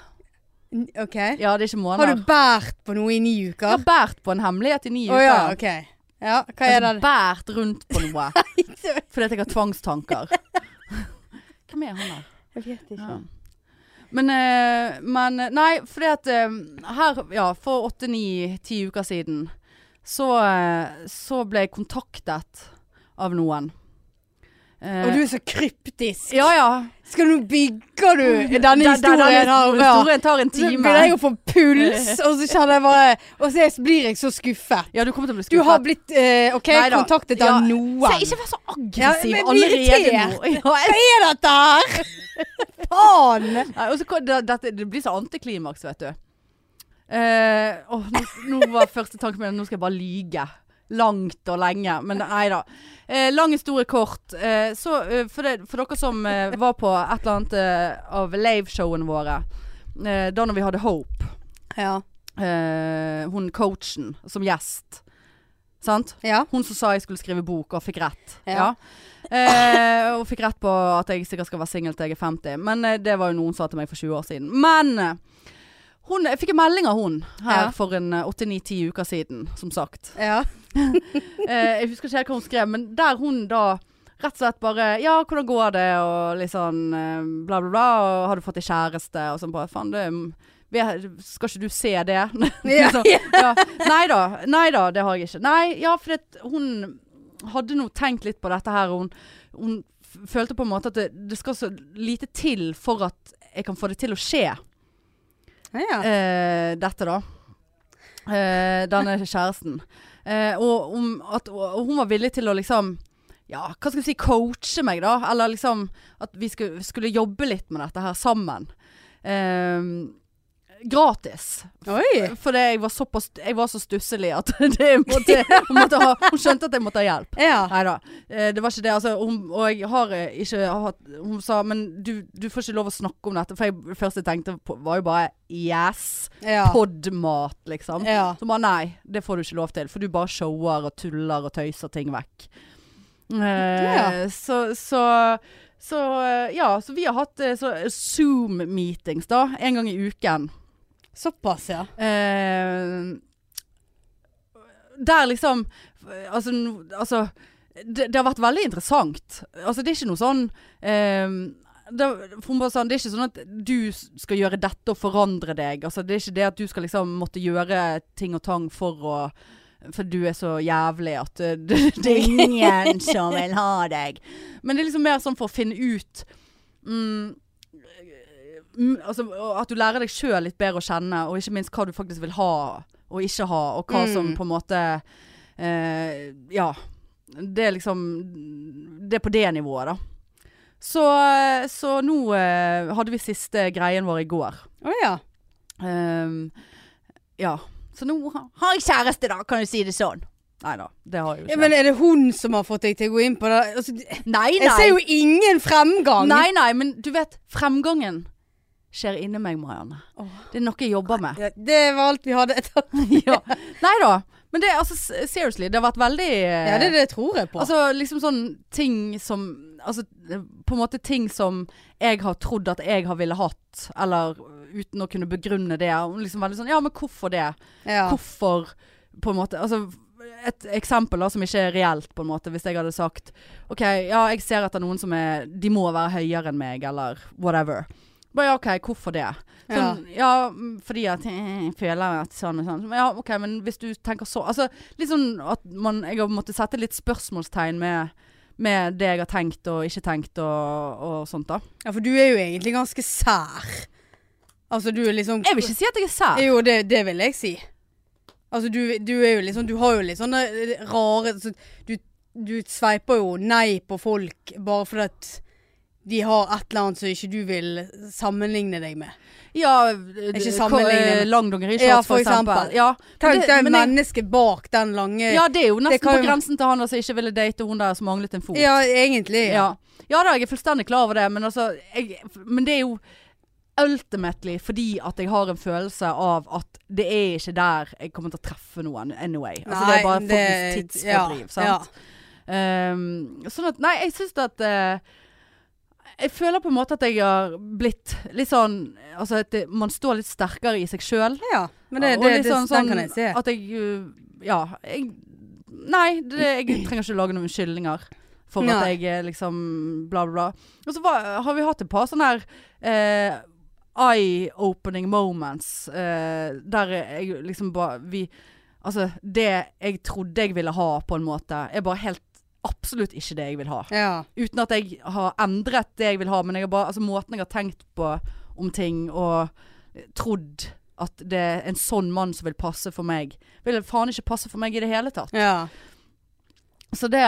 Speaker 2: OK.
Speaker 1: Ja, det er ikke
Speaker 2: Har
Speaker 1: måneder.
Speaker 2: du båret på noe i ni
Speaker 1: Jeg
Speaker 2: uker?
Speaker 1: har båret på en hemmelighet i ni
Speaker 2: Å
Speaker 1: uker. Altså,
Speaker 2: ja, ok. Ja, hva er
Speaker 1: Jeg
Speaker 2: det?
Speaker 1: har bært rundt på noe fordi at jeg har tvangstanker. Hvem er han der?
Speaker 2: Jeg vet ikke.
Speaker 1: Ja. Men, eh, men Nei, fordi at eh, her Ja, for åtte, ni, ti uker siden så, eh, så ble jeg kontaktet av noen. Eh,
Speaker 2: Og du er så kryptisk.
Speaker 1: Ja, ja.
Speaker 2: Skal du bygge du
Speaker 1: Den-
Speaker 2: denne
Speaker 1: den-
Speaker 2: historien
Speaker 1: Mm. denne
Speaker 2: her? Ja.
Speaker 1: historien tar en
Speaker 2: Så
Speaker 1: time.
Speaker 2: begynner jeg å få puls, og så kjenner jeg bare Og så er- blir jeg så skuffet.
Speaker 1: Ja, du kommer til å bli
Speaker 2: Du
Speaker 1: skuffet.
Speaker 2: har blitt eh, OK,
Speaker 1: Neida.
Speaker 2: kontaktet
Speaker 1: Ja,
Speaker 2: av noen.
Speaker 1: Se, ikke vær så aggressiv
Speaker 2: Ja, men bli
Speaker 1: allerede nå. Ja, jeg,
Speaker 2: Hva er dette her?! Faen!
Speaker 1: nei, og så kan- det, dette- det blir så antiklimaks, vet du. Eh, åh, nå, nå var første tanken min nå skal jeg bare lyge. Langt og lenge. Men nei da. Eh, lang historie kort. Eh, så eh, for, det, for dere som eh, var på et eller annet eh, av liveshowene våre, eh, da når vi hadde Hope,
Speaker 2: Ja.
Speaker 1: eh, hun coachen som gjest, sant?
Speaker 2: ja.
Speaker 1: Hun som sa jeg skulle skrive bok, og fikk rett. Ja.
Speaker 2: Ja.
Speaker 1: Eh, og fikk rett på at jeg sikkert skal være singel til jeg er 50. Men eh, det var jo noen som sa til meg for 20 år siden. Men eh, hun, jeg fikk en melding av hun her
Speaker 2: Ja.
Speaker 1: for en eh, 8-9-10 uker siden, som sagt.
Speaker 2: ja.
Speaker 1: Eh, jeg husker ikke helt hva hun skrev, men der hun da rett og slett bare Ja, hvordan går det? Og litt sånn eh, bla, bla, bla. Og har du fått deg kjæreste? Og sånn bare Faen, det vi- Skal ikke du se det? Liksom.
Speaker 2: Ja.
Speaker 1: Så, ja. Nei da. Nei da, det har jeg ikke. Nei, ja, for det, hun hadde nå tenkt litt på dette her. og Hun, hun f- følte på en måte at det, det skal så lite til for at jeg kan få det til å skje,
Speaker 2: ja.
Speaker 1: eh, dette da. Eh, denne kjæresten. Eh, og, om at, og hun var villig til å liksom Ja, hva skal vi si, coache meg, da? Eller liksom at vi skulle, skulle jobbe litt med dette her sammen. Eh, gratis.
Speaker 2: Oi!
Speaker 1: Fordi jeg var såpass Jeg var så stusselig at det måtte, hun, måtte ha, hun skjønte at jeg måtte ha hjelp.
Speaker 2: Ja.
Speaker 1: Nei da. Det var ikke det. Altså, hun, og jeg har eh, ikke hatt Hun sa Men du, du får ikke lov å snakke om dette. For jeg, det første jeg tenkte på, var jo bare Yes!
Speaker 2: Ja.
Speaker 1: Podmat, liksom.
Speaker 2: ja.
Speaker 1: Så bare nei, det får du ikke lov til. For du bare shower og tuller og tøyser ting vekk. Eh, Så, så så eh, ja, så vi har hatt eh, så Zoom-meetings da, en gang i uken.
Speaker 2: Såpass, ja.
Speaker 1: Eh, der liksom Altså, no- altså det, det har vært veldig interessant. Altså, det er ikke noe sånn eh, det, for hun bare sa, det er ikke sånn at du s- skal gjøre dette og forandre deg. Altså, det er ikke det at du skal liksom måtte gjøre ting og tang for å For du er så jævlig at eh, det, det er ingen som vil ha deg. Men det er liksom mer sånn for å finne ut mm, mm, altså, og At du lærer deg sjøl litt bedre å kjenne, og ikke minst hva du faktisk vil ha og ikke ha, og hva som
Speaker 2: Mm.
Speaker 1: på en måte eh, Ja. Det er liksom Det er på det nivået, da. Så, så nå eh, hadde vi siste greien vår i går.
Speaker 2: Å ja.
Speaker 1: Ehm, ja. Så nå ha- har jeg kjæreste, da, kan du si det sånn. Nei da, det har jeg jo
Speaker 2: ja.
Speaker 1: ikke.
Speaker 2: Men er det hun som har fått deg til å gå inn på det? Altså,
Speaker 1: nei, nei.
Speaker 2: jeg ser jo ingen fremgang.
Speaker 1: Nei, nei, men du vet, fremgangen skjer inni meg, Marianne.
Speaker 2: Åh.
Speaker 1: Det er noe jeg jobber med.
Speaker 2: Ja, Det var alt vi hadde.
Speaker 1: ja. Nei da. Men det, altså, s- seriously, det har vært veldig eh,
Speaker 2: Ja, det, det tror jeg på.
Speaker 1: Altså liksom sånn ting som Altså eh, på en måte ting som jeg har trodd at jeg har ville hatt, eller uten å kunne begrunne det. Og Liksom veldig sånn Ja, men hvorfor det?
Speaker 2: ja.
Speaker 1: Hvorfor på en måte Altså et eksempel da, som ikke er reelt, på en måte, hvis jeg hadde sagt OK, ja, jeg ser etter noen som er De må være høyere enn meg, eller whatever. Bare ja, OK, hvorfor det? Sånn, ja. mm, fordi at eh, jeg føler at sånn og sånn. Men Ja, OK, men hvis du tenker så Altså litt sånn at man Jeg har måttet sette litt spørsmålstegn med med det jeg har tenkt og ikke tenkt og, og sånt, da.
Speaker 2: ja, for du er jo egentlig ganske sær. Altså, du er liksom
Speaker 1: Jeg vil ikke si at jeg er sær.
Speaker 2: Jo, det, det vil jeg si. Altså, du, du er jo liksom Du har jo litt sånne rare altså, du, du sveiper jo nei på folk bare fordi at de har et eller annet som ikke du vil sammenligne deg med.
Speaker 1: Ja, eh,
Speaker 2: Ikke sammenlignende.
Speaker 1: Lang dongerishorts, ja,
Speaker 2: Ja, for
Speaker 1: for eksempel.
Speaker 2: eksempel.
Speaker 1: Ja, men
Speaker 2: Tenk
Speaker 1: det-
Speaker 2: deg
Speaker 1: men jeg-
Speaker 2: mennesket bak den lange
Speaker 1: Ja, det er jo nesten
Speaker 2: Eh, kan
Speaker 1: på
Speaker 2: jo-
Speaker 1: grensen til han der som ikke ville date hun der som manglet en fot.
Speaker 2: Ja, egentlig.
Speaker 1: Ja. Ja da, jeg er fullstendig klar over det, men, altså, jeg, men det er jo ultimately fordi at jeg har en følelse av at det er ikke der jeg kommer til å treffe noen anyway. Altså, det er bare faktisk
Speaker 2: Nei, det-
Speaker 1: tidsfordriv.
Speaker 2: ja,
Speaker 1: sant? Ehm, sånn at Nei, jeg syns at eh, Jeg føler på en måte at jeg har blitt litt sånn Altså at det, man står litt sterkere i seg sjøl.
Speaker 2: Ja, men det,
Speaker 1: Ja, og
Speaker 2: det,
Speaker 1: litt
Speaker 2: det,
Speaker 1: sånn-
Speaker 2: den
Speaker 1: sånn
Speaker 2: kan jeg se.
Speaker 1: At jeg uh, Ja. Jeg, Nei, det, jeg trenger ikke lage noen unnskyldninger for at
Speaker 2: Nei.
Speaker 1: jeg eh, liksom Bla, bla, bla. Og så var, har vi hatt et par sånne her eh, eye-opening moments eh, der jeg liksom bare Vi Altså, det jeg trodde jeg ville ha, på en måte, er bare helt absolutt ikke det jeg vil ha.
Speaker 2: Ja.
Speaker 1: Uten at jeg har endret det jeg vil ha, men jeg har bare, altså, måten jeg har tenkt på om ting og trodd at det er en sånn mann som vil passe for meg, vil faen ikke passe for meg i det hele tatt.
Speaker 2: ja.
Speaker 1: Så det,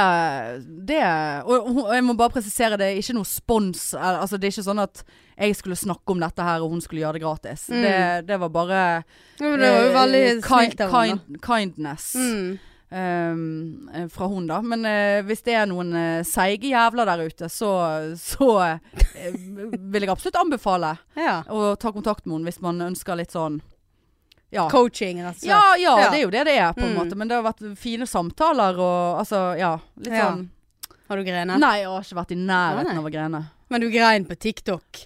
Speaker 1: det og, hun- og jeg må bare presisere, det er ikke noe spons. eh, Altså, det er ikke sånn at jeg skulle snakke om dette her, og hun skulle gjøre det gratis.
Speaker 2: Mm.
Speaker 1: Det, det var bare
Speaker 2: ja men det var jo
Speaker 1: eh,
Speaker 2: veldig
Speaker 1: kind-
Speaker 2: snilt av henne.
Speaker 1: kind, Kindness
Speaker 2: da. Mm.
Speaker 1: ehm, eh, fra hun, da. Men eh, hvis det er noen eh, seige jævler der ute, så, så eh, vil jeg absolutt anbefale
Speaker 2: Ja.
Speaker 1: å ta kontakt med henne hvis man ønsker litt sånn Ja.
Speaker 2: Coaching, altså. rett og slett.
Speaker 1: Ja, ja,
Speaker 2: Ja.
Speaker 1: det er jo det det er, på en
Speaker 2: Mm.
Speaker 1: måte. Men det har vært fine samtaler og altså, ja. Litt
Speaker 2: Ja.
Speaker 1: sånn
Speaker 2: Har du grenet?
Speaker 1: Nei, jeg har ikke vært i
Speaker 2: Ja,
Speaker 1: nærheten
Speaker 2: nei.
Speaker 1: av å grene.
Speaker 2: Men du grein på TikTok.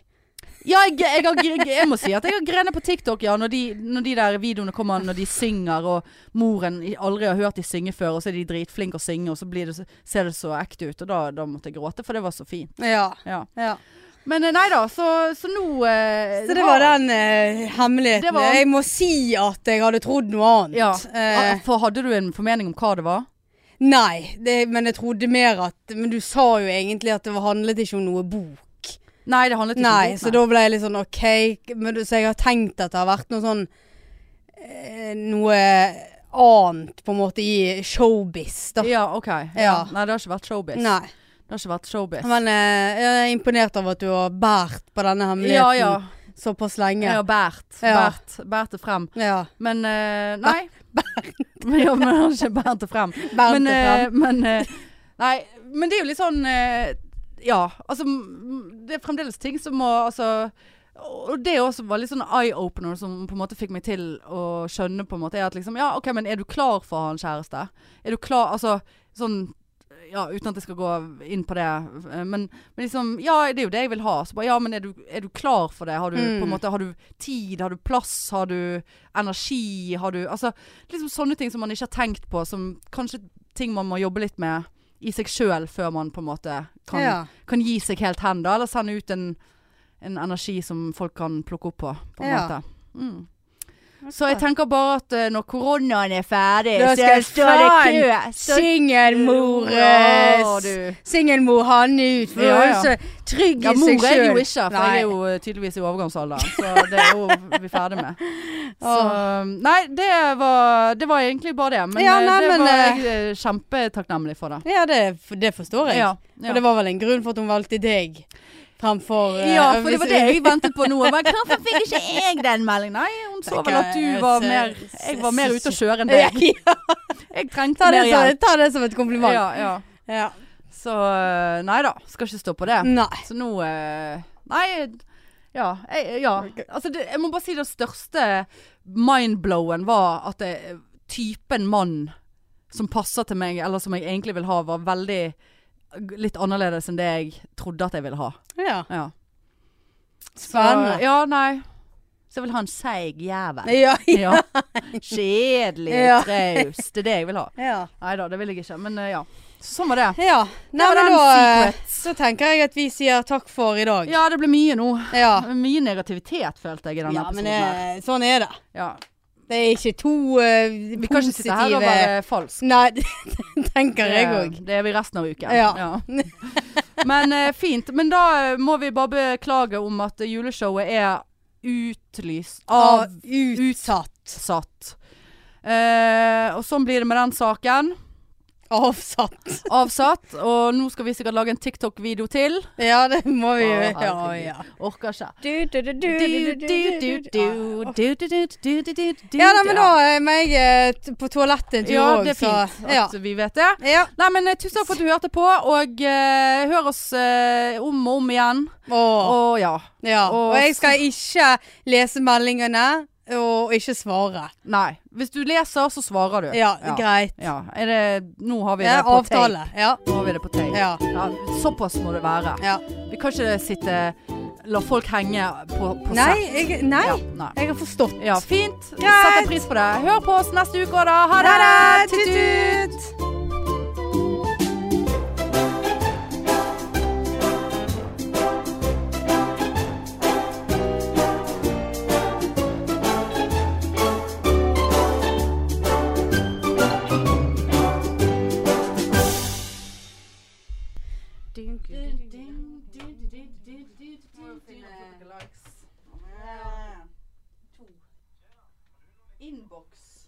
Speaker 1: Ja, jeg, jeg, har, gre- jeg må si at jeg har grenet på TikTok, ja. Når de, når de der videoene kommer når de synger, og moren i- aldri har hørt de synge før, og så er de dritflinke å synge, og så blir det, så- ser det så ekte ut. Og da, da måtte jeg gråte, for det var så fint.
Speaker 2: Ja.
Speaker 1: Ja.
Speaker 2: ja.
Speaker 1: Men eh, nei da, så, så nå eh,
Speaker 2: Så det var den eh, hemmeligheten.
Speaker 1: Det var-
Speaker 2: Jeg må si at jeg hadde trodd noe annet.
Speaker 1: Ja.
Speaker 2: Eh,
Speaker 1: Ah, For hadde du en formening om hva det var?
Speaker 2: nei, det, men jeg trodde mer at Men du sa jo egentlig at det var- handlet ikke om noe bok.
Speaker 1: Nei, det handlet ikke
Speaker 2: Nei,
Speaker 1: om
Speaker 2: så da ble jeg litt sånn OK. Men, du- så jeg har tenkt at det har vært noe sånn eh, Noe annet, på en måte, i showbiz, da.
Speaker 1: Ja, OK.
Speaker 2: Ja.
Speaker 1: Nei, det har ikke vært showbiz.
Speaker 2: Nei.
Speaker 1: Det har ikke vært showbiz.
Speaker 2: Men eh, jeg er imponert over at du har båret på denne
Speaker 1: ja,
Speaker 2: hemmeligheten
Speaker 1: ja.
Speaker 2: såpass
Speaker 1: Jeg
Speaker 2: lenge.
Speaker 1: har båret.
Speaker 2: Ja.
Speaker 1: Båret båret det frem.
Speaker 2: Ja.
Speaker 1: Men eh, nei. Bernt. ja, men han har ikke båret det frem.
Speaker 2: Båret
Speaker 1: men,
Speaker 2: det frem.
Speaker 1: eh, men, eh, nei, men det er jo litt sånn eh, Ja, altså m- Det er fremdeles ting som må altså og det også var litt sånn eye-opener som på en måte fikk meg til å skjønne på en måte, er at liksom, ja, ok, men er du klar for å ha en kjæreste? Er du klar, altså, sånn, ja, uten at jeg skal gå inn på det, eh, men, men liksom, ja, det er jo det jeg vil ha. Så bare, ja, men er du, er du klar for det? Har du
Speaker 2: Mm.
Speaker 1: på en måte, har du tid, har du plass, har du energi, har du, altså, liksom sånne ting som man ikke har tenkt på, som kanskje ting man må jobbe litt med i seg selv før man på en måte kan
Speaker 2: ja.
Speaker 1: kan gi seg helt hen, da. Eller sende ut en, en energi som folk kan plukke opp på, på en
Speaker 2: Ja.
Speaker 1: måte. Mm. Så jeg tenker bare at eh, når koronaen er ferdig,
Speaker 2: Da
Speaker 1: så
Speaker 2: skal
Speaker 1: står det
Speaker 2: faen
Speaker 1: kø. Står-
Speaker 2: Singelmor
Speaker 1: Ja,
Speaker 2: eh,
Speaker 1: du.
Speaker 2: Singelmor Hanne ut, for hun
Speaker 1: Ja,
Speaker 2: er
Speaker 1: ja.
Speaker 2: så trygg
Speaker 1: Ja,
Speaker 2: i
Speaker 1: mor
Speaker 2: seg
Speaker 1: er det jo
Speaker 2: sjøl.
Speaker 1: ikke, for
Speaker 2: Nei.
Speaker 1: jeg er jo eh, tydeligvis i overgangsalderen. Så det er jo vi er ferdig med. Så um, Nei, det var, det var egentlig bare det. Men
Speaker 2: Ja,
Speaker 1: eh,
Speaker 2: nei,
Speaker 1: det
Speaker 2: men,
Speaker 1: var
Speaker 2: eh,
Speaker 1: jeg eh, kjempetakknemlig for, da.
Speaker 2: Ja, det, det forstår jeg.
Speaker 1: Ja,
Speaker 2: Og det var vel en grunn for at hun valgte deg fremfor eh,
Speaker 1: Ja, for det var
Speaker 2: hvis-
Speaker 1: det jeg ventet på nå. Men hvorfor fikk ikke jeg den meldingen? Nei, hun så vel at du var mer Jeg var mer ute å kjøre enn
Speaker 2: Ja,
Speaker 1: deg.
Speaker 2: ja.
Speaker 1: Jeg
Speaker 2: Ta,
Speaker 1: trengte
Speaker 2: det
Speaker 1: mer
Speaker 2: som,
Speaker 1: hjelp.
Speaker 2: ta det som et kompliment.
Speaker 1: Ja, ja.
Speaker 2: Ja.
Speaker 1: Så eh, nei da, skal ikke stå på det.
Speaker 2: Nei.
Speaker 1: Så nå eh, Nei. Ja, jeg, ja. Altså, det, jeg må bare si det største mindblowen var at det, typen mann som passer til meg, eller som jeg egentlig vil ha, var veldig litt annerledes enn det jeg trodde at jeg ville ha.
Speaker 2: Ja.
Speaker 1: Ja.
Speaker 2: Spennende.
Speaker 1: Ja, nei. Så jeg vil ha en seig jævel.
Speaker 2: Ja.
Speaker 1: Ja. Kjedelig,
Speaker 2: Ja.
Speaker 1: traust. Det er det jeg vil ha.
Speaker 2: ja.
Speaker 1: Nei da, det vil jeg ikke. Men eh, ja. Så sånn var det.
Speaker 2: ja. Nei,
Speaker 1: var
Speaker 2: men
Speaker 1: den
Speaker 2: da, eh,
Speaker 1: secret.
Speaker 2: så tenker jeg at vi sier takk for i dag.
Speaker 1: Ja, det ble mye nå.
Speaker 2: Ja,
Speaker 1: Mye negativitet følte jeg i denne
Speaker 2: Ja, men
Speaker 1: episoden. her.
Speaker 2: eh, sånn er det.
Speaker 1: Ja.
Speaker 2: Det er ikke to eh,
Speaker 1: Vi kan ikke sitte her og
Speaker 2: positive
Speaker 1: være falsk.
Speaker 2: Nei, det tenker jeg òg.
Speaker 1: Det er vi resten av uken.
Speaker 2: Ja.
Speaker 1: Men eh, fint. Men da eh, må vi bare beklage om at eh, juleshowet er utlyst
Speaker 2: Av
Speaker 1: av
Speaker 2: utsatt.
Speaker 1: satt. Eh, og sånn blir det med den saken.
Speaker 2: Avsatt.
Speaker 1: Avsatt. Og nå skal vi sikkert lage en TikTok-video til.
Speaker 2: Ja, det må vi jo.
Speaker 1: Å,
Speaker 2: Ja,
Speaker 1: herregud.
Speaker 2: ja.
Speaker 1: Orker ikke.
Speaker 2: Ja, nei, men da eh, må jeg eh, t- på toalettet en tur
Speaker 1: Ja,
Speaker 2: òg,
Speaker 1: det er fint
Speaker 2: Ja.
Speaker 1: at vi vet det.
Speaker 2: ja.
Speaker 1: Nei, men eh, tusen takk for at du hørte på, og eh, hør oss eh, om og om igjen.
Speaker 2: Og,
Speaker 1: Og ja.
Speaker 2: ja.
Speaker 1: og-
Speaker 2: og jeg skal ikke lese meldingene og ikke svare.
Speaker 1: Nei. Hvis du leser, så svarer du.
Speaker 2: Ja,
Speaker 1: ja.
Speaker 2: greit.
Speaker 1: ja. Er det Nå har vi
Speaker 2: Ja,
Speaker 1: det på tape.
Speaker 2: avtale. Ja.
Speaker 1: Nå har vi det på tape.
Speaker 2: Ja.
Speaker 1: Ja, såpass må det være.
Speaker 2: ja.
Speaker 1: Vi kan ikke sitte La folk henge på, på
Speaker 2: Nei,
Speaker 1: sett.
Speaker 2: jeg, nei.
Speaker 1: Ja, nei.
Speaker 2: jeg har forstått.
Speaker 1: Ja, fint.
Speaker 2: Greit.
Speaker 1: Setter pris på det. Hør på oss neste uke òg, da. Ha det!
Speaker 2: Ha det!
Speaker 1: Tut-tut!
Speaker 2: Tut-tut!
Speaker 1: Box.